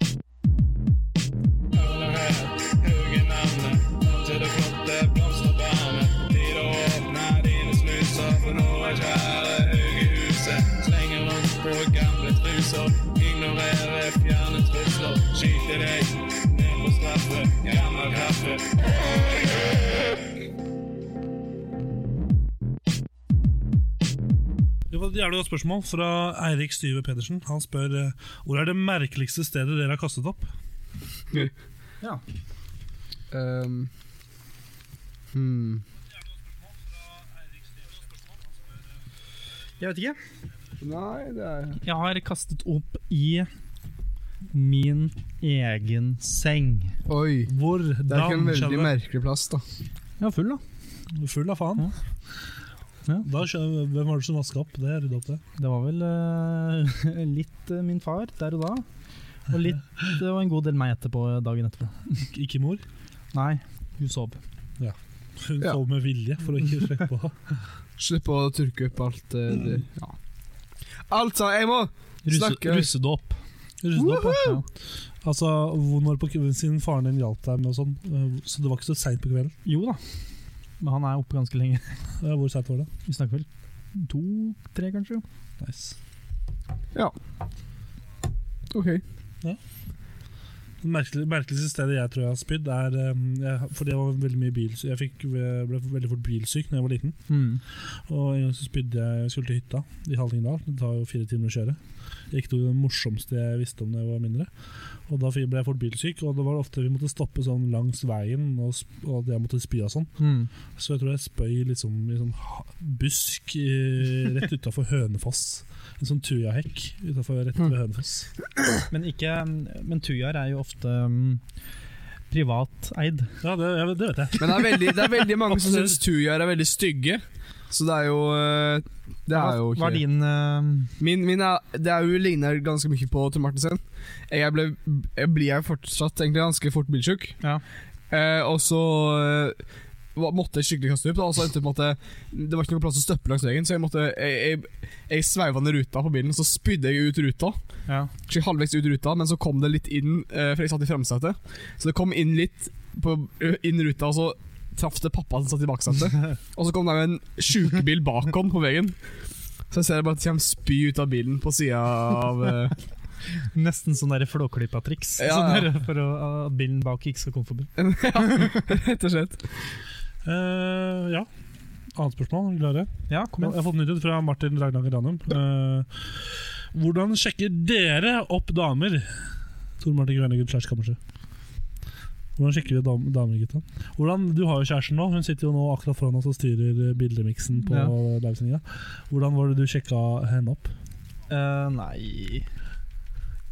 Alle her, høye navnet. Til det flotte blomsterbærene. Tid å åpne dine snuser, for nå er kjære høye huset. Slenger rundt på gamle truser. Ignorerer fjerne trusler. Skyter deg ned på straffe. Gammel kaffe. Det var et jævlig godt spørsmål fra Eirik Styve Pedersen. Han spør eh, hvor er det merkeligste stedet dere har kastet opp. Um, hmm. Jeg vet ikke. Nei, det er Jeg har kastet opp i min egen seng. Oi. Hvor Det er ikke en veldig kjenner- merkelig plass, da. Jeg var full, da. Full av faen. Ja. Da skjønner jeg- Hvem var det som vaska opp? Det er rydda opp, det. Det var vel eh, litt eh, min far der og da. Og litt, det var en god del meg etterpå eh, dagen etterpå. Ik ikke mor. Nei, hun sov. Hun Ja. sov med vilje for å ikke slippe på. Slipp å tørke opp alt eh, det ja. Altså, jeg må Russe, Snakker. russedåp. Rydda opp, ja. Altså, hvor- når på kvelden, Siden faren din hjalp deg med og sånn, eh, så det var ikke så seint på kvelden. Jo da, men han er oppe ganske lenge. Eh, Hvor seint var det? Vi snakker vel to-tre, kanskje? jo. Nice. OK. Det merkelig, merkeligste stedet jeg tror jeg har spydd, er eh, jeg, Fordi jeg var veldig mye bil, så jeg fikk, jeg ble veldig fort bilsyk da jeg var liten. Mm, Og en gang så spydde jeg jeg skulle til hytta i Hallingdal. Det tar jo fire timer å kjøre. Jeg gikk til det morsomste jeg visste om da jeg var mindre. Og Da fikk- ble jeg fort bilsyk, og det var ofte vi måtte stoppe sånn langs veien, og, sp- og at jeg måtte spy og sånn. Mm. Så jeg tror jeg spøy liksom i sånn ha- busk eh, rett utafor Hønefoss. En sånn tujahekk utenfor rett ved Hønefoss. Men, ikke, men tujaer er jo ofte um, privateid. Ja, det, jeg, vet- det vet jeg. Men det er veldig, det er veldig mange som syns tujaer er veldig stygge. Så det er jo eh, Det er jo Hva er ikke din eh, Min, min er, Det er jo ligner ganske mye på Tor Martensen. Jeg, ble, jeg blir jeg fortsatt egentlig ganske fort bilsjuk. Ja. Eh, og så eh, var- måtte jeg skikkelig kaste opp. Da, og så endte det på en måte Det var ikke noe plass å støppe langs veien, så jeg måtte Jeg, jeg, jeg sveiva ned ruta på bilen, og så spydde jeg ut ruta. ja. Kanskje halvveis ut ruta, men så kom det litt inn, eh, for jeg satt i fremsetet. Så det kom inn litt på, eh, inn ruta, og så traff det pappa som satt i baksetet. Og så kom det en sjukebil bakom på veien. Så jeg ser bare at det kommer spy ut av bilen på sida av eh, Nesten sånn der flåklypa-triks. Ja, Sånn ja. der for å, at bilen bak ikke skal komme forbi. Ja, rett og slett. Eh, ja. Annet spørsmål? Klare? Ja, kom Jeg har fått nytt ut fra Martin Ragnaker Ranum. Eh, hvordan sjekker dere opp damer? Tor Martin Grønnegutt slash Kammerset. Hvordan sjekker vi dam damer, gutta? Hvordan, du har jo kjæresten nå. Hun sitter jo nå akkurat foran oss og styrer eh, bildemiksen på Ja. livesendinga. Hvordan var det du sjekka henne opp? Eh, nei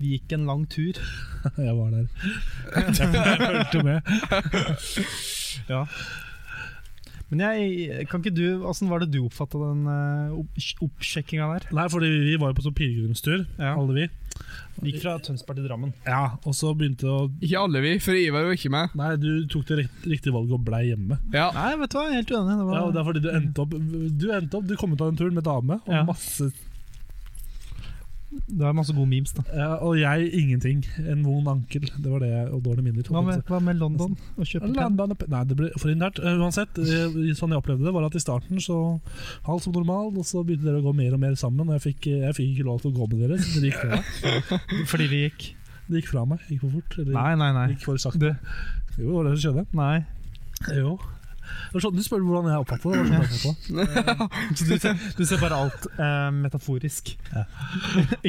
Vi gikk en lang tur. Jeg var der. Jeg, fulgte med. Men jeg, kan ikke du, Åssen var det du oppfatta den eh, opp oppsjekkinga der? Nei, fordi vi var jo på sånn pilegrimstur, Ja. alle vi. Vi gikk fra Tønsberg til Drammen. Ja, Og så begynte å Ikke alle vi, for Ivar var jo ikke med. Nei, du tok det rikt- riktige valget og blei hjemme. Ja, Nei, vet du hva, jeg er helt uenig. Det var, Ja, og det er fordi du endte opp Du endte opp, du kom ut av den turen med dame og Ja. masse det var masse gode memes, da. ja, Og jeg ingenting. En vond ankel. Det var det jeg og dårlige minner. Hva med, hva med London? Å kjøpe penn? Landa opp- Nei, det ble for internt. Eh, Uansett, eh, sånn jeg opplevde det, var at i starten så Alt som normalt, og så begynte dere å gå mer og mer sammen. Og jeg fikk, eh, jeg fikk ikke lov til å gå med dere, så det gikk fra meg. Fordi vi gikk Det gikk fra meg. Gikk for fort. Eller Nei, nei, nei. gikk for sakte. Du, Jo, det var det som skjedde. nei. Jo. Det var sånn, du spør hvordan jeg oppfattet det. det. var sånn jeg oppfattet det. Så du, ser, du ser bare alt eh, metaforisk.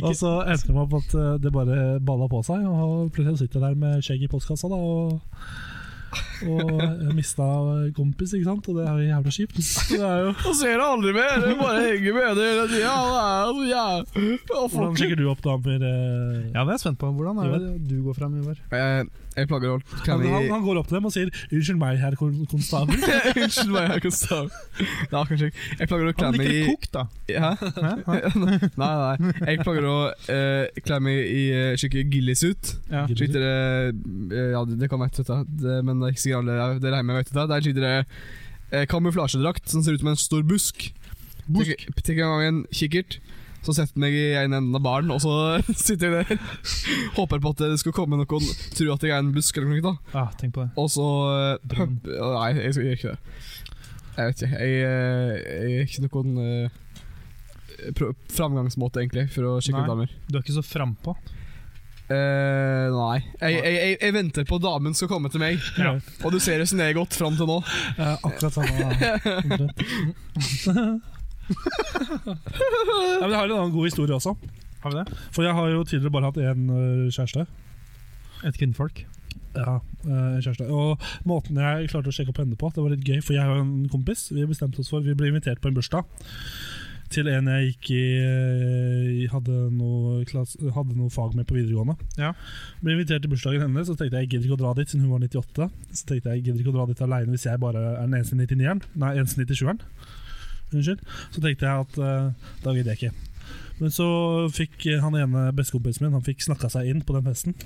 Og så endte det med opp at eh, det bare balla på seg, og plutselig sitter jeg der med skjegg i postkassa da, og, og mista kompis, ikke sant? Og det er jo jævla kjipt. Så Det er jo, Og så er det aldri med! Det er bare henger med hele tida. Ja, ja. hvordan sjekker du opp damer? eh? Ja, det er jeg spent på. Hvordan er det du går fram, Ivar? Jeg, Eh, jeg plager alt. Kan Han, han, vi han går opp til dem og sier 'unnskyld meg, herr kon- konstabel'. Unnskyld meg, jeg kan stave. Nei, kanskje ikke. Jeg plager å Han klemme liker i det kokt, da. Hæ? nei, nei. Jeg plager å eh, klemme i eh, skikkelig gillis ut. Ja. Slik dere eh, Ja, det kan være tøtt, da. det, men det er ikke sikkert alle der- dere hjemme vet det. Det er slik dere eh, kamuflasjedrakt som ser ut som en stor busk. Tenk tenk en gang en kikkert. Så setter jeg meg i en enden av baren, og så sitter jeg der. Håper på at det skal komme noen tror at jeg er en busk eller noe. da Ja, Ah, tenk på det. Og så eh, Drømmen. pump- Nei, jeg skal jeg gjør ikke det. Jeg vet ikke. Jeg, eh, jeg er ikke noen eh, pro- framgangsmåte, egentlig, for å sjekke Nei. ut damer. Du er ikke så frampå. Eh, nei. Jeg, jeg, jeg, jeg venter på at damen skal komme til meg, Ja. og du ser åssen det har gått fram til nå. Eh, akkurat samme. omtrent. ja, men jeg har en annen god historie også. Har vi det? For jeg har jo tidligere bare hatt én eh, kjæreste. Et kvinnfolk. Ja, eh, en kjæreste. Og måten jeg klarte å sjekke opp henne på, det var litt gøy, for jeg og en kompis vi bestemte oss for Vi ble invitert på en bursdag til en jeg gikk i eh, hadde noe, klass, hadde noe fag med på videregående. Ja. Ble invitert til bursdagen hennes, så tenkte jeg jeg gidder ikke å dra dit siden hun var 98. Så tenkte jeg jeg gidder ikke å dra dit alene hvis jeg bare er den eneste 99-eren. Nei, eneste 97-eren. Unnskyld. Så tenkte jeg at eh, da gidder jeg ikke. Men så fikk han ene bestekompisen min Han fikk snakka seg inn på den festen.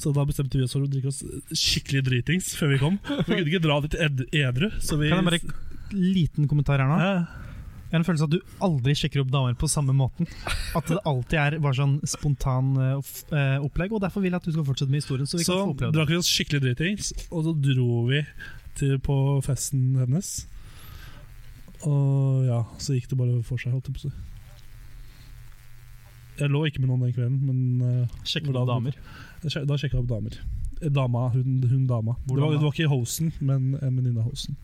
Så da bestemte vi oss for å drikke oss skikkelig dritings før vi kom. Vi kunne ikke dra dit ed edru. Så vi Kan jeg bare Liten kommentar her nå. Ja. Jeg har en følelse av at du aldri sjekker opp damer på samme måten. At det alltid er bare sånn spontan eh, off- eh, opplegg. Og derfor vil jeg at du skal fortsette med historien. Så vi Så kan få oppleve det. drakk vi oss skikkelig dritings, og så dro vi til, på festen hennes. Og ja, så gikk det bare for seg, holdt jeg på å si. Jeg lå ikke med noen den kvelden, men eh, Sjekke hvordan- opp damer. jeg sjek- da sjekka jeg opp damer. Eh, Dama, hun, hun dama. Det Hvordan var, da? det var ikke hosten, men en venninne av hosten.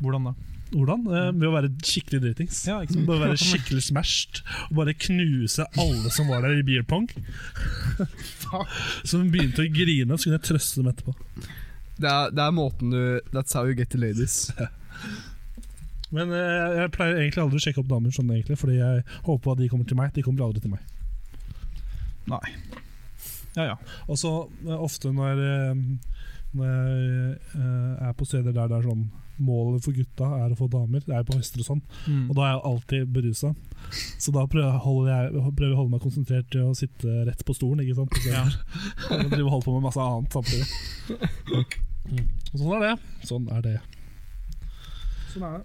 Hvordan da? Hvordan? Eh, ved å være skikkelig dritings. Ja, ikke sant? Bare være skikkelig smashed og bare knuse alle som var der i beer pong. Så hun begynte å grine, så kunne jeg trøste dem etterpå. Det er, det er måten du That's how you get the ladies. Men eh, jeg pleier egentlig aldri å sjekke opp damer sånn, egentlig, fordi jeg håper at de kommer til meg. De kommer aldri til meg. Ja, ja. Og så eh, ofte når, eh, når jeg eh, er på steder der det er sånn Målet for gutta er å få damer. Det er på høster og sånn. Og Mm. da er jeg alltid berusa. Så da prøver jeg, holder jeg, prøver jeg å holde meg konsentrert til å sitte rett på stolen. Ikke sant? Ja. Og drive og holde på med masse annet samtidig. Mm. Og sånn er det. Sånn er det.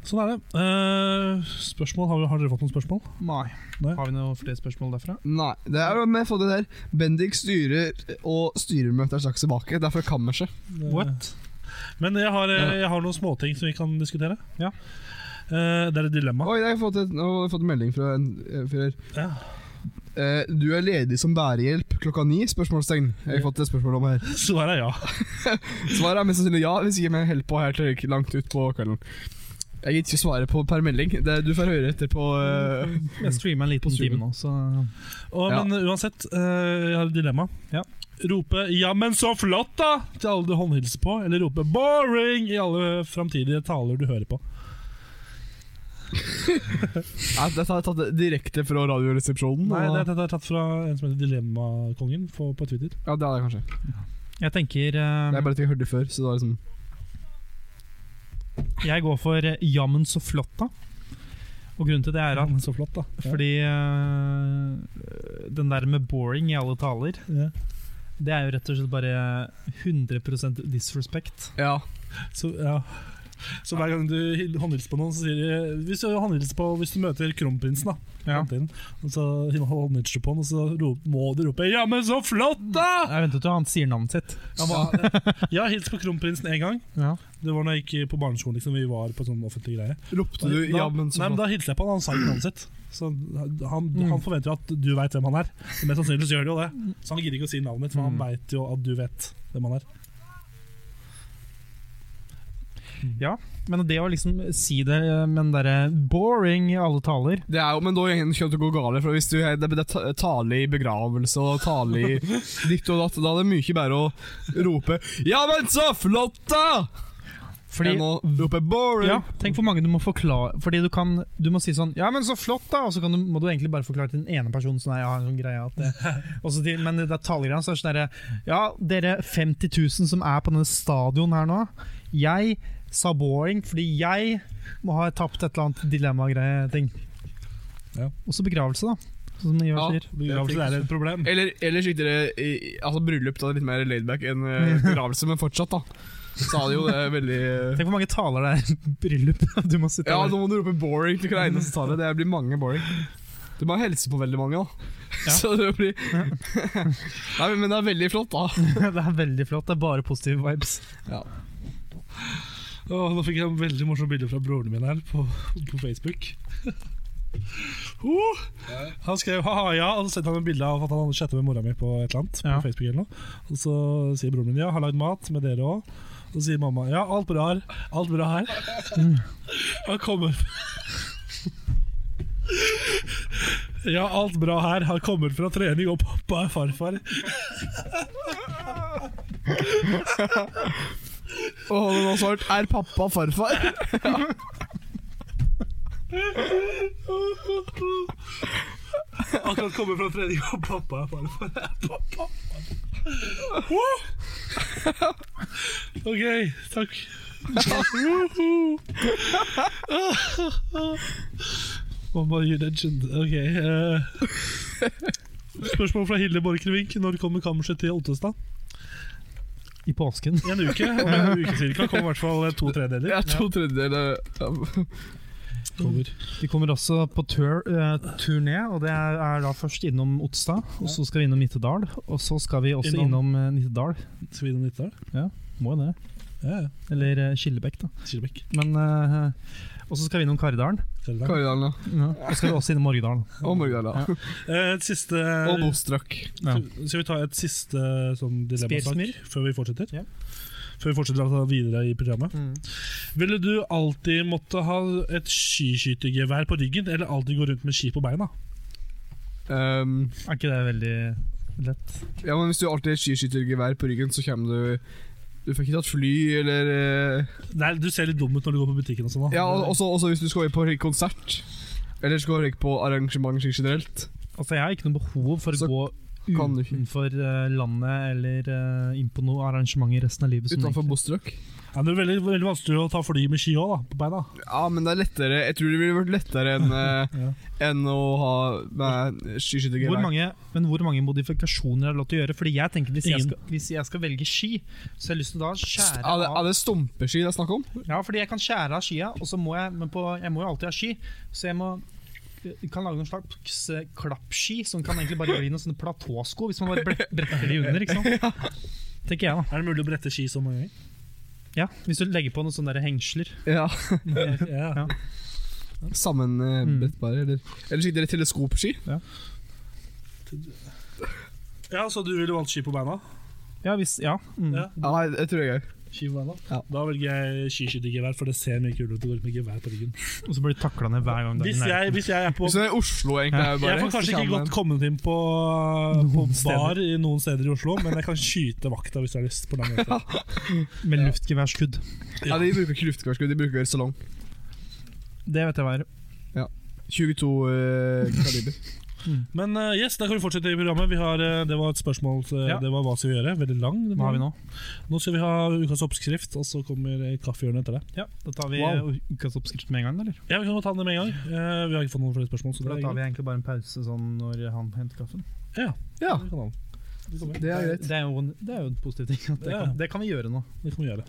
Sånn er det. Eh, spørsmål, har, har dere fått noen spørsmål? Nei. Nei. Mm. Har vi noe flere spørsmål derfra? Nei, det er jo med å få det der. Bendik styrer, og styremøtet er straks tilbake. Det er fra kammerset. Eh, What? Men jeg har, eh, jeg har noen småting som vi kan diskutere. Ja. Eh, det er et dilemma. Oi, jeg har fått, et, nå har jeg fått en melding fra en eh, fyr her. Ja. Eh, du er ledig som bærehjelp klokka ni? Spørsmålstegn. Jeg har fått et spørsmål om her. Svaret er ja. Svaret er mest sannsynlig ja, hvis ikke jeg holder på her til langt ut på kvelden. Jeg gidder ikke svare på per melding. Det, du får høre etter på eh, Jeg streama en liten streamen. time nå, så Og, Ja. Men uansett, eh, jeg har et dilemma. Ja. Rope 'jammen så flott', da! til alle du håndhilser på, eller rope 'boring' i alle framtidige taler du hører på. ja, Dette har jeg tatt direkte fra Radioresepsjonen. Nei, og- det, dette er tatt fra en som heter Dilemmakongen på, på Twitter. Ja, det hadde jeg kanskje. jeg tenker eh, Det er bare at jeg hørte det før. Så det var liksom Jeg går for eh, jammen så flott, da. Og grunnen til det er at men så flott, da. Ja. fordi eh, den der med boring i alle taler, Ja. det er jo rett og slett bare 100 disrespect. Ja. Så, ja. så hver gang du hil- håndhilser på noen, så sier de Hvis du håndhilser på Hvis du møter kronprinsen, da Ja. fremtiden, Og så håndhilser du på han, og så rop, må du rope 'ja, men så flott, da'! Jeg ventet jo han sier navnet sitt. Jeg har ja, hilst på kronprinsen én gang. Ja. Det var når jeg gikk på barneskolen. liksom Vi var på sånn offentlig greie. Ropte du Da- 'ja, men så nei, men flott'? Da hilste jeg på han, han sa ikke navnet sitt. Så han, han Mm. forventer at du veit hvem han er. Men Mest sannsynlig så gjør de jo det. Så han gidder ikke å si navnet mitt, for han Mm. veit jo at du vet hvem han er. Mm. Men det å liksom si det eh, med den derre boring i alle taler Det er jo, Men da igjen kommer det til å gå galt. For hvis du, det det er ta- tale i begravelse og tale i ditt og datt, da er det mye bedre å rope 'ja, men så flott', da! Fordi enn å rope 'boring'. ja, Tenk hvor mange du må forklare Fordi du kan Du må si sånn 'Ja, men så flott, da!' Og så kan du, må du egentlig bare forklare til den ene personen. Sånn, «Nei, jeg har en sånn greie at det. Og så til, men det er talegreiene. Så er det sånn derre Ja, dere 50 000 som er på denne stadion her nå. Jeg sa boring fordi jeg må ha tapt et eller annet dilemma-greie-ting. Ja. Og så begravelse, da. Sånn Som Ja. Ivar sier. Begravelse er et problem. Eller, eller slik dere i- Altså bryllup da er det litt mer laidback enn eh, begravelse, men fortsatt, da. sa de jo det veldig Tenk hvor mange taler det er i bryllup. Du må sitte Ja, og- nå må du rope 'boring' til hver eneste tale. Det blir mange boring. Du må hilse på veldig mange, da. Så det blir Nei, men det er veldig flott, da. Det er veldig flott. Det er bare positive vibes. Åh, nå fikk jeg en veldig morsom bilde fra broren min her på, på Facebook. Oh, han skrev ha-ha ja, og så sendte han en bilde av at han hadde chatta med mora mi på et eller annet. Ja. På Facebook eller noe. Og så sier broren min ja, har lagd mat med dere òg. Og så sier mamma ja, alt bra her. Alt bra her. Han kommer Ja, alt bra her. Han kommer fra trening, og pappa er farfar. Og den har svart 'er pappa farfar'? Akkurat kommer fra trening, og pappa er farfar. Pappa. OK, takk. Mamma gir legend. OK. eh. Spørsmål fra Hilde Borchgrevink. Når kommer kammerset til Ottestad? I påsken. I en uke. Om en uke cirka kommer i hvert fall eh, to Ja, tredeler. to tredjedeler ja. Kommer. Vi kommer også på tur, eh, turné, og det er, er da først innom Otstad. Og så skal vi innom Nittedal. Og så skal vi også Innom- innom, eh, Nittedal. Skal vi innom Nittedal? Må jo det. Ja, ja. Eller eh, Skillebekk, da. Kilebekk. Men eh, Og så skal vi innom Karidalen. Karidalen. Karidalen, ja. Ja. Og så skal vi også innom Morgedalen. Og Morgdala. Eh, et siste Og Bostrak. Ja. Så Skal vi ta et siste sånn, Spelsmyr? dilemmasak før vi fortsetter? Ja. Før vi fortsetter altså, videre i programmet. Mm. Ville du alltid måtte ha et skiskyttergevær på ryggen, eller alltid gå rundt med ski på beina? Um, Er ikke det veldig lett? ja, men hvis du alltid har skiskyttergevær på ryggen, så kommer du Du får ikke tatt fly, eller eh, Nei, Du ser litt dum ut når du går på butikken. og sånn da. Ja, og- også, også hvis du skal på konsert. Eller skal på arrangement generelt. Altså, jeg har ikke noe behov for å Så gå kan du ikke. utenfor eh, landet eller eh, inn på noe arrangement i resten av livet. som Utenfor egentlig- Bostrak. Ja, men det er veldig, veldig vanskelig å ta fly med ski òg, på beina. Ja, men det er lettere Jeg tror det ville vært lettere enn eh, enn å ha nei, hvor skiskyttergevær. mange, men hvor mange modifikasjoner er det lov til å gjøre? Fordi jeg tenker Hvis jeg Ingen. skal, hvis jeg skal velge ski, så har jeg lyst til da å skjære Er det, av er det stompeski det er snakk om? Ja, fordi jeg kan skjære av skia, og så må jeg Men på, jeg må jo alltid ha ski, så jeg må jeg kan lage noen slags eh, klappski som kan egentlig bare bli noen sånne platåsko, hvis man bare bre- bretter de under. ikke sant? Tenker jeg da Er det mulig å brette ski så mange ganger? Ja, Hvis du legger på noen sånne der hengsler. Ja. Ja. Ja. Mm. Sammenbrettbare, eller Eller skikkelig teleskopski. ja, Så du ville valgt ski på beina? Ja, hvis, ja. Mm. Ja. Ja, nei, det tror jeg er gøy. Ski på beina. Ja. Da velger jeg skiskyttergevær, for det ser mye kulere ut å gå rundt med gevær på ryggen. Og så blir du takla ned hver gang du er i Hvis nærheten. jeg, hvis jeg er på Hvis det er i Oslo, egentlig. er det bare, Jeg får kanskje så ikke kan godt man- kommet inn på, eh, på Noen steder. bar i noen steder i Oslo, men jeg kan skyte vakta hvis jeg har lyst. på den måten. Med luftgeværskudd. Ja, De bruker ikke luftgasskudd, de bruker salong. Det vet jeg hva er. 22 eh, kaliber. Men eh, yes, da kan vi fortsette i programmet. Vi har, eh, det var et spørsmål eh, Ja. Det var hva skal vi gjøre. Veldig lang. den Hva har vi var. nå? Nå skal vi ha ukas oppskrift, og så kommer eh, kaffehjørnet etter det. Ja, Da tar vi Wow. eh, ukas oppskrift med en gang, eller? Ja, Vi kan godt ta det med en gang. Eh, vi har ikke fått noen flere spørsmål. Så Da det er tar vi greit. egentlig bare en pause sånn når han henter kaffen. Ja, Ja, det kan, han. det kan, vi, det er greit. Det er jo en, det er jo en positiv ting. at Det Ja. kan, det kan vi gjøre nå. det kan vi gjøre.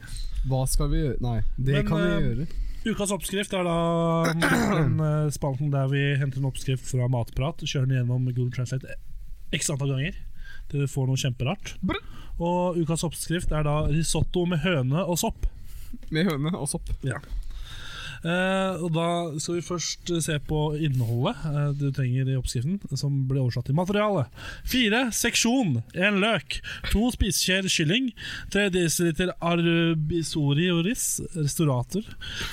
Hva skal vi gjøre? Nei, det Men, kan eh, vi gjøre. Ukas oppskrift er da den eh, spalten der vi henter en oppskrift fra Matprat, kjører den gjennom Google Translate x antall ganger til du får noe kjemperart. Og ukas oppskrift er da risotto med høne og sopp. Med høne og sopp. Eh, og Da skal vi først se på innholdet eh, du trenger i oppskriften, som blir oversatt til materiale. Fire seksjon, en løk, to spiseskjeer kylling, tre desiliter arbisori og ris, restaurator,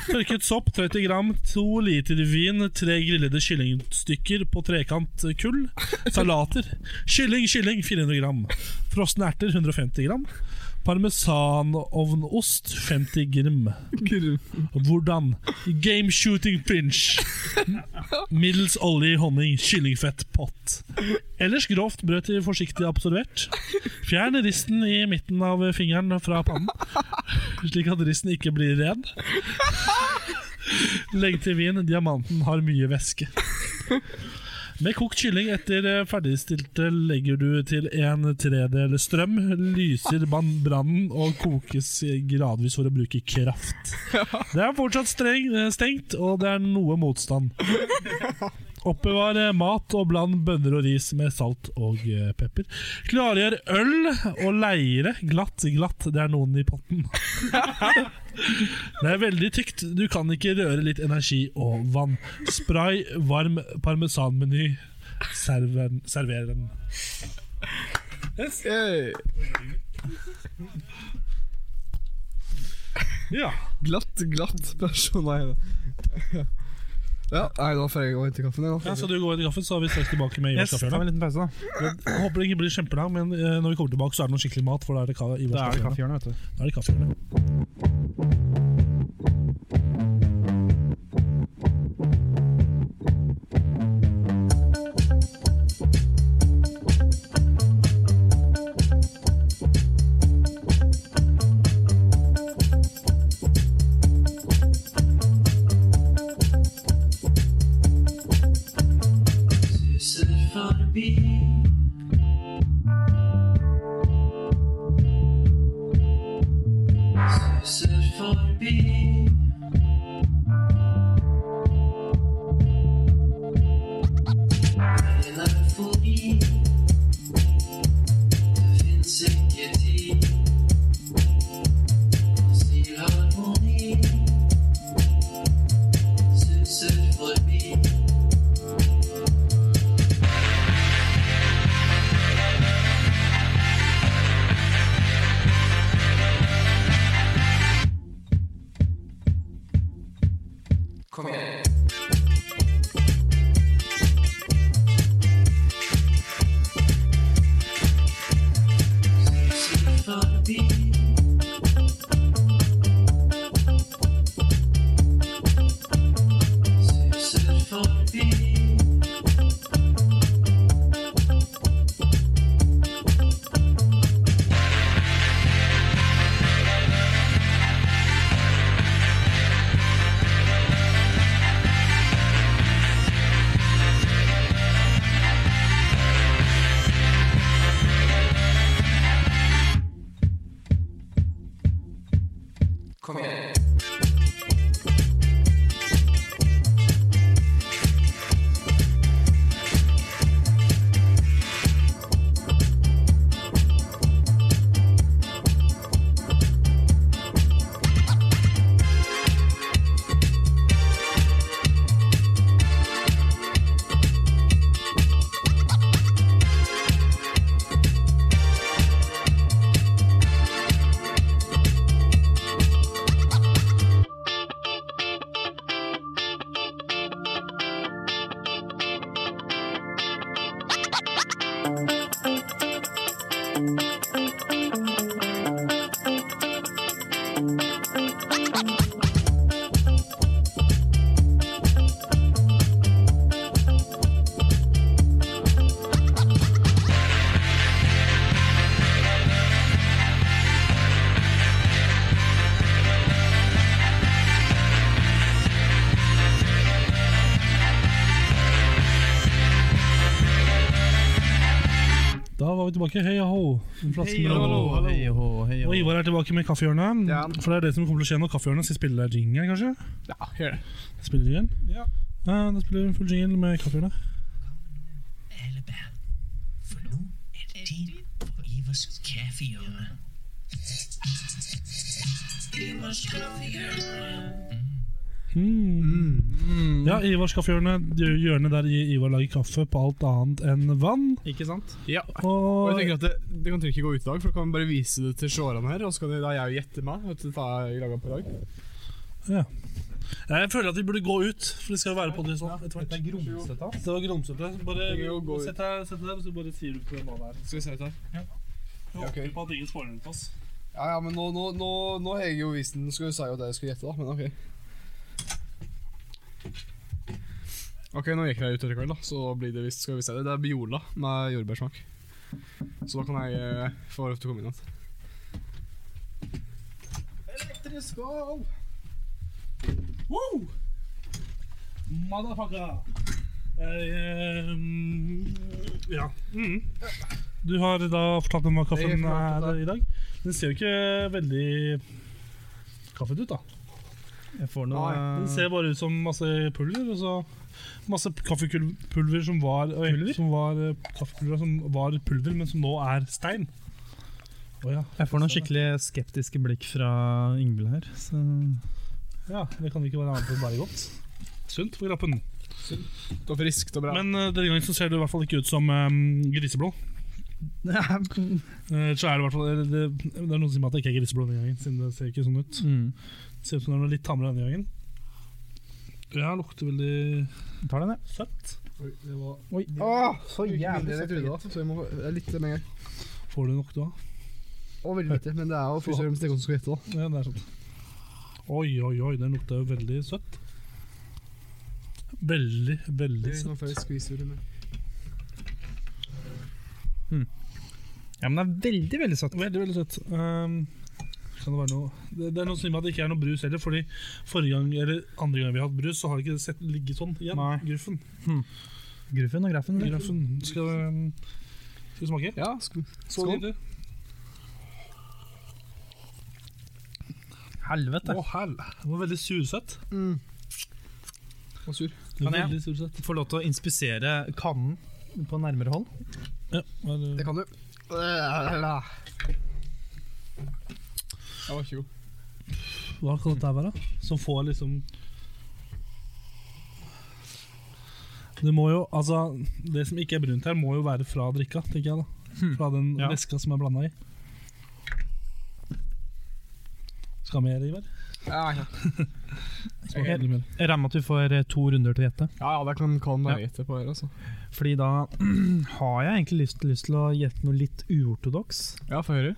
tørket sopp 30 gram, to liter vin, tre grillede kyllingstykker på trekant kull, salater, kylling, kylling 400 gram, frosne erter 150 gram, parmesanovnost 50 gram. Hvordan? Game shooting pinch. Middels olje, honning, kyllingfett, pott. Ellers grovt brød til forsiktig absorbert. Fjern risten i midten av fingeren fra pannen, slik at risten ikke blir ren. Legg til vin. Diamanten har mye væske. Med kokt kylling etter eh, ferdigstilte legger du til en tredel strøm, lyser ban- brannen og kokes gradvis for å bruke kraft. Det er fortsatt streng, eh, stengt, og det er noe motstand. Oppbevar eh, mat og bland bønner og ris med salt og eh, pepper. Klargjør øl og leire. Glatt, glatt, det er noen i potten. Det er veldig tykt. Du kan ikke røre litt energi og vann. Spray varm parmesanmeny. Server, server den. Eh, Ja. glatt, glatt person. Nei da. Ja, nei, nå får jeg gå og hente kaffen. Jeg, ja, da. Skal du gå inn i kaffen, så er vi straks tilbake med Ivar Yes, da Skaffjørn. har vi en liten pause, da. Jeg Håper det ikke blir kjempelang, men eh, når vi kommer tilbake, så er det noe skikkelig mat. For da er det, ka Ivar Da er det Skaffjørn. kaffehjørnet, vet du. Da er det kaffe. suser forbi. Suser forbi. En eufori. Det fins ikke tid. Og stilharmoni suser forbi. Da var vi tilbake. Hei ho! En flaske med hallo. Hei, ho, hei, ho. Og Ivar er tilbake med kaffehjørnet. Ja. For det er det som kommer til å skje når kaffehjørnet skal spille jingle, kanskje? Ja, gjør det. Spiller jingle? Ja. ja da spiller vi full jingle med kaffehjørnet. For nå er det tid for Ivers kaffehjørne. Ivers kaffehjørne. Mm. Ja, Ivars kaffehjørne. det er jo Hjørnet der Ivar lager kaffe på alt annet enn vann. Ikke sant? Ja. Og jeg Og tenker at det, det kan ikke gå ut i dag, for da kan vi bare vise det til seerne her. Og så kan de, da jeg jo gjette meg. Vet du, hva jeg laget på i dag. jeg føler at vi burde gå ut, for det skal jo være på det sånn etter hvert. grumsete. Det var grumsete. Bare Vi kan jo gå ut. sett deg sett deg der, så bare sier du på hva det er. Skal vi se ut her? Jeg Ja, ok. håper på at ingen spoiler rundt oss. Ja, ja, men nå, nå, nå, nå har jeg jo vist den. Skal vi si at jeg skulle gjette, da. Men OK. Ok, Nå gikk jeg ut etter kveld, da, så blir det visst skal vi se det. Det er Biola med jordbærsmak. Så da kan jeg eh, få lov til å komme inn igjen. Elektrisk skål! Motherfucker! Eh, mm, ja. Mm. Du har da fortalt om hva kaffen Jeg har fortalt er i dag. Den ser jo ikke veldig kaffen ut, da. Jeg får noe Den ser bare ut som masse pulver, og så masse kaffepulver som var oi, Som var eh, kaffepulver som var pulver, men som nå er stein. Å ja. jeg får noen skikkelig skeptiske blikk fra Yngvild her. Så. ja. Det kan ikke være annet enn bare godt. Sunt for grappen. Og friskt og bra. Men eh, denne gangen så ser det i hvert fall ikke ut som eh, griseblå. Eh, så er det, i hvert fall, eller det, det er noen som sier meg at det ikke er griseblå denne gangen, siden det ser ikke sånn ut. Mm. Ser ut som det er noe litt tammere denne gangen. Ja, lukter veldig Tar den, jeg. søtt. Oi, det var Oi. Åh, så jævlig jævlig jeg trodde det var. Så jeg må det er litt med en gang. Får du nok, du, da? Og veldig lite, men det er jo først og fremst det som skal gjette, da. Ja, det er sant. Oi, oi, oi, den lukter jo veldig søtt. Veldig, veldig søtt. Nå får jeg skvise ordet med. Ja, men det er veldig, veldig søtt. Veldig, veldig søtt. Ehm, kan det, være noe? Det, det er noe som sier meg at det ikke er noe brus heller, fordi forrige gang, eller andre gang vi har hatt brus, så har det ikke sett, ligget sånn igjen. Nei. Gruffen. Gruffen og Mm. graffen. vet du. Gruffen. Skal, ehm, skal vi smake? Ja, sk skål. Å, Helvete. hell. Det var veldig sursøtt. Mm. Og sur. Det var Kan jeg? Veldig sursøtt. Får lov til å inspisere kannen på nærmere hold. Ja, men, Det eh, kan du. Den var ikke god. hva kan dette her være? Som får liksom Det må jo, altså Det som ikke er brunt her, må jo være fra drikka, tenker jeg da. Hmm. Fra den Ja. væska som er blanda i. Skal mer, Ivar? Ja, ja. Smaker Ok. veldig mer. Jeg regner med at vi får eh, to runder til å gjette. ja, ja, det kan kan Ja. være gjette på her, altså. Fordi da har jeg egentlig lyst, lyst til å gjette noe litt uortodoks. Ja, få høre.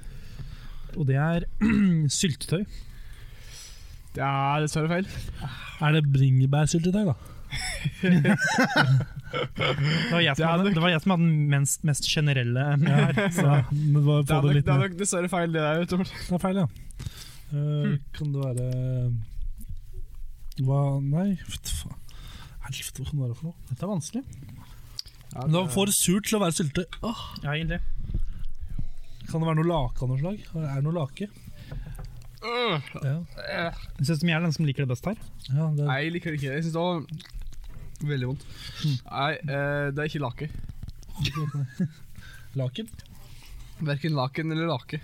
Og det er syltetøy. Det er dessverre feil. Er det bringebærsyltetøy, da? Det var jeg som hadde, det var jeg som hadde den mest, mest generelle her. Så. Ja, men hva- Det få er det nok, litt det er ned. nok dessverre feil, det der. Tor. Det er feil, ja. Eh, Kan det være eh, Hva Nei, vet faen. Helvete, hva kan det være for noe? Dette er vanskelig. Ja, Men Det var for surt til å være syltetøy. Åh, Ja, egentlig. kan det være noe lake av noe slag? Er det noe lake? Øh, Ja, øh. Jeg synes som jeg er den som liker det best her. ja det, Nei, jeg liker det ikke. Jeg syns det var veldig vondt. Nei, eh, det er ikke lake. Laken? Verken laken eller lake.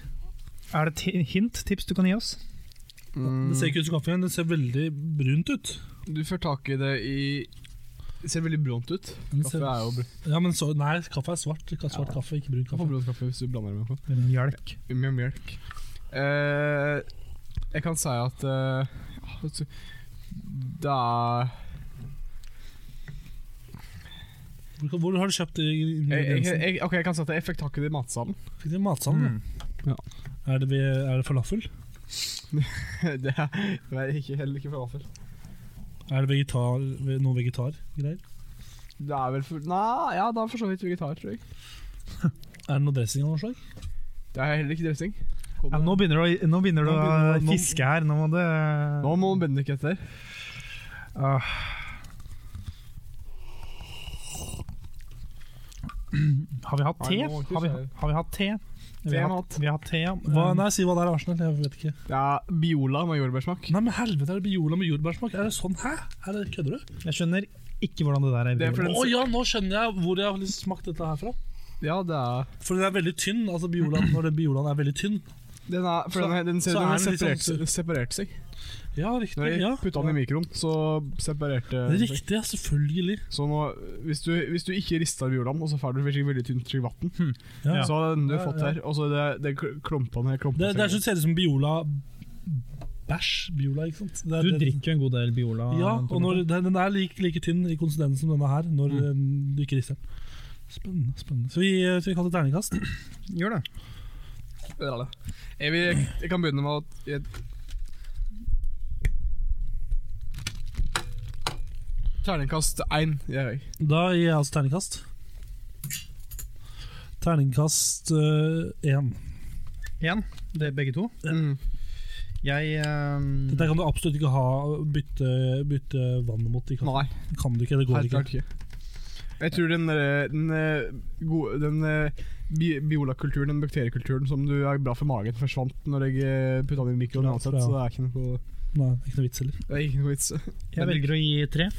Er det et hint, tips du kan gi oss? Mm. Det ser ikke ut som kaffe, men det ser veldig brunt ut. Du får tak i det i Det ser veldig brunt ut. Den Kaffe ser, er jo br- ja, men så, nei, kaffe er svart. Ka- Svart kaffe, ikke brun Du får kaffe. brunt kaffe hvis du blander det med noe. Mjølk. Med melk. Eh, jeg kan si at eh, ja, vet du, Det er Hvor, hvor har du kjøpt de jeg, jeg, ingrediensene? jeg, Ok, jeg kan si at jeg fikk tak i det i matsalen. Fikk de i matsalen? Mm. Ja. Er, det ved, er det falafel? det er det er ikke, heller ikke falafel. Er det vegetar, ve- noe vegetargreier? Det er vel for Nei, ja, det er for så vidt vegetar, tror jeg. Er det noe dressing av noe slag? Det er heller ikke dressing. Ja, nå begynner du, å- nå begynner Nå du begynner du- å nå- fiske her. Nå må du Nå må Bendik etter. Ah. Har vi hatt te? Nei, nå må ikke Har vi, si det. har vi hatt te? Vi Te har har hatt, hatt. vi har hatt te. ja. Hva, Um, nei, si hva det er, vær så snill. Jeg vet ikke. Det er Biola med jordbærsmak. Nei, men helvete, er det Biola med jordbærsmak? Er det sånn? Hæ? Er det, kødder du? Jeg skjønner ikke hvordan det der er. Det er Å fordi- Den- ja, nå skjønner jeg hvor jeg har liksom smakt dette her fra. Ja, det er For den er veldig tynn. altså Biolaen, Når den biolaen er veldig tynn Den, er, for Så- den, er- den ser så den er har den litt separert, sånn- separert seg. Ja, riktig. Når jeg ja. putta den i mikroen, så separerte den seg. Riktig, ja, selvfølgelig. Så nå, hvis du, hvis du ikke rister Biolaen, og så får du faktisk veldig tynt trykk vann, Ja. så har den du Ja, fått ja. her, og så er det, det kl- klumpene her klumpa Det, det er så det ser ut som Biola bæsj. Biola, ikke sant? Det er, Du det- drikker jo en god del Biola. Ja, på og en måte. når, den den er like, like tynn i konsistensen som denne her når eh, du ikke rister den. Spennende. spennende. Så vi, eh, så vi kaller det terningkast. Gjør det. jeg, vil, jeg kan begynne med å jeg- Terningkast én. Jeg, Da gir jeg altså terningkast. Terningkast eh, én. Én. Det er begge to. Mm. Jeg ehm, Dette kan du absolutt ikke ha bytte, bytte vannet mot. Det kan, Nei, kan du ikke, det går helt ikke. klart ikke. Jeg tror den, derre- den, eh, gode- den eh, bi biolakulturen, den bakteriekulturen som du er bra for magen, forsvant når jeg putta den i mikroen Ja, uansett, ja. så det er ikke noe, Nei, ikke noe vits heller. det er ikke noe vits. Jeg velger å gi tre,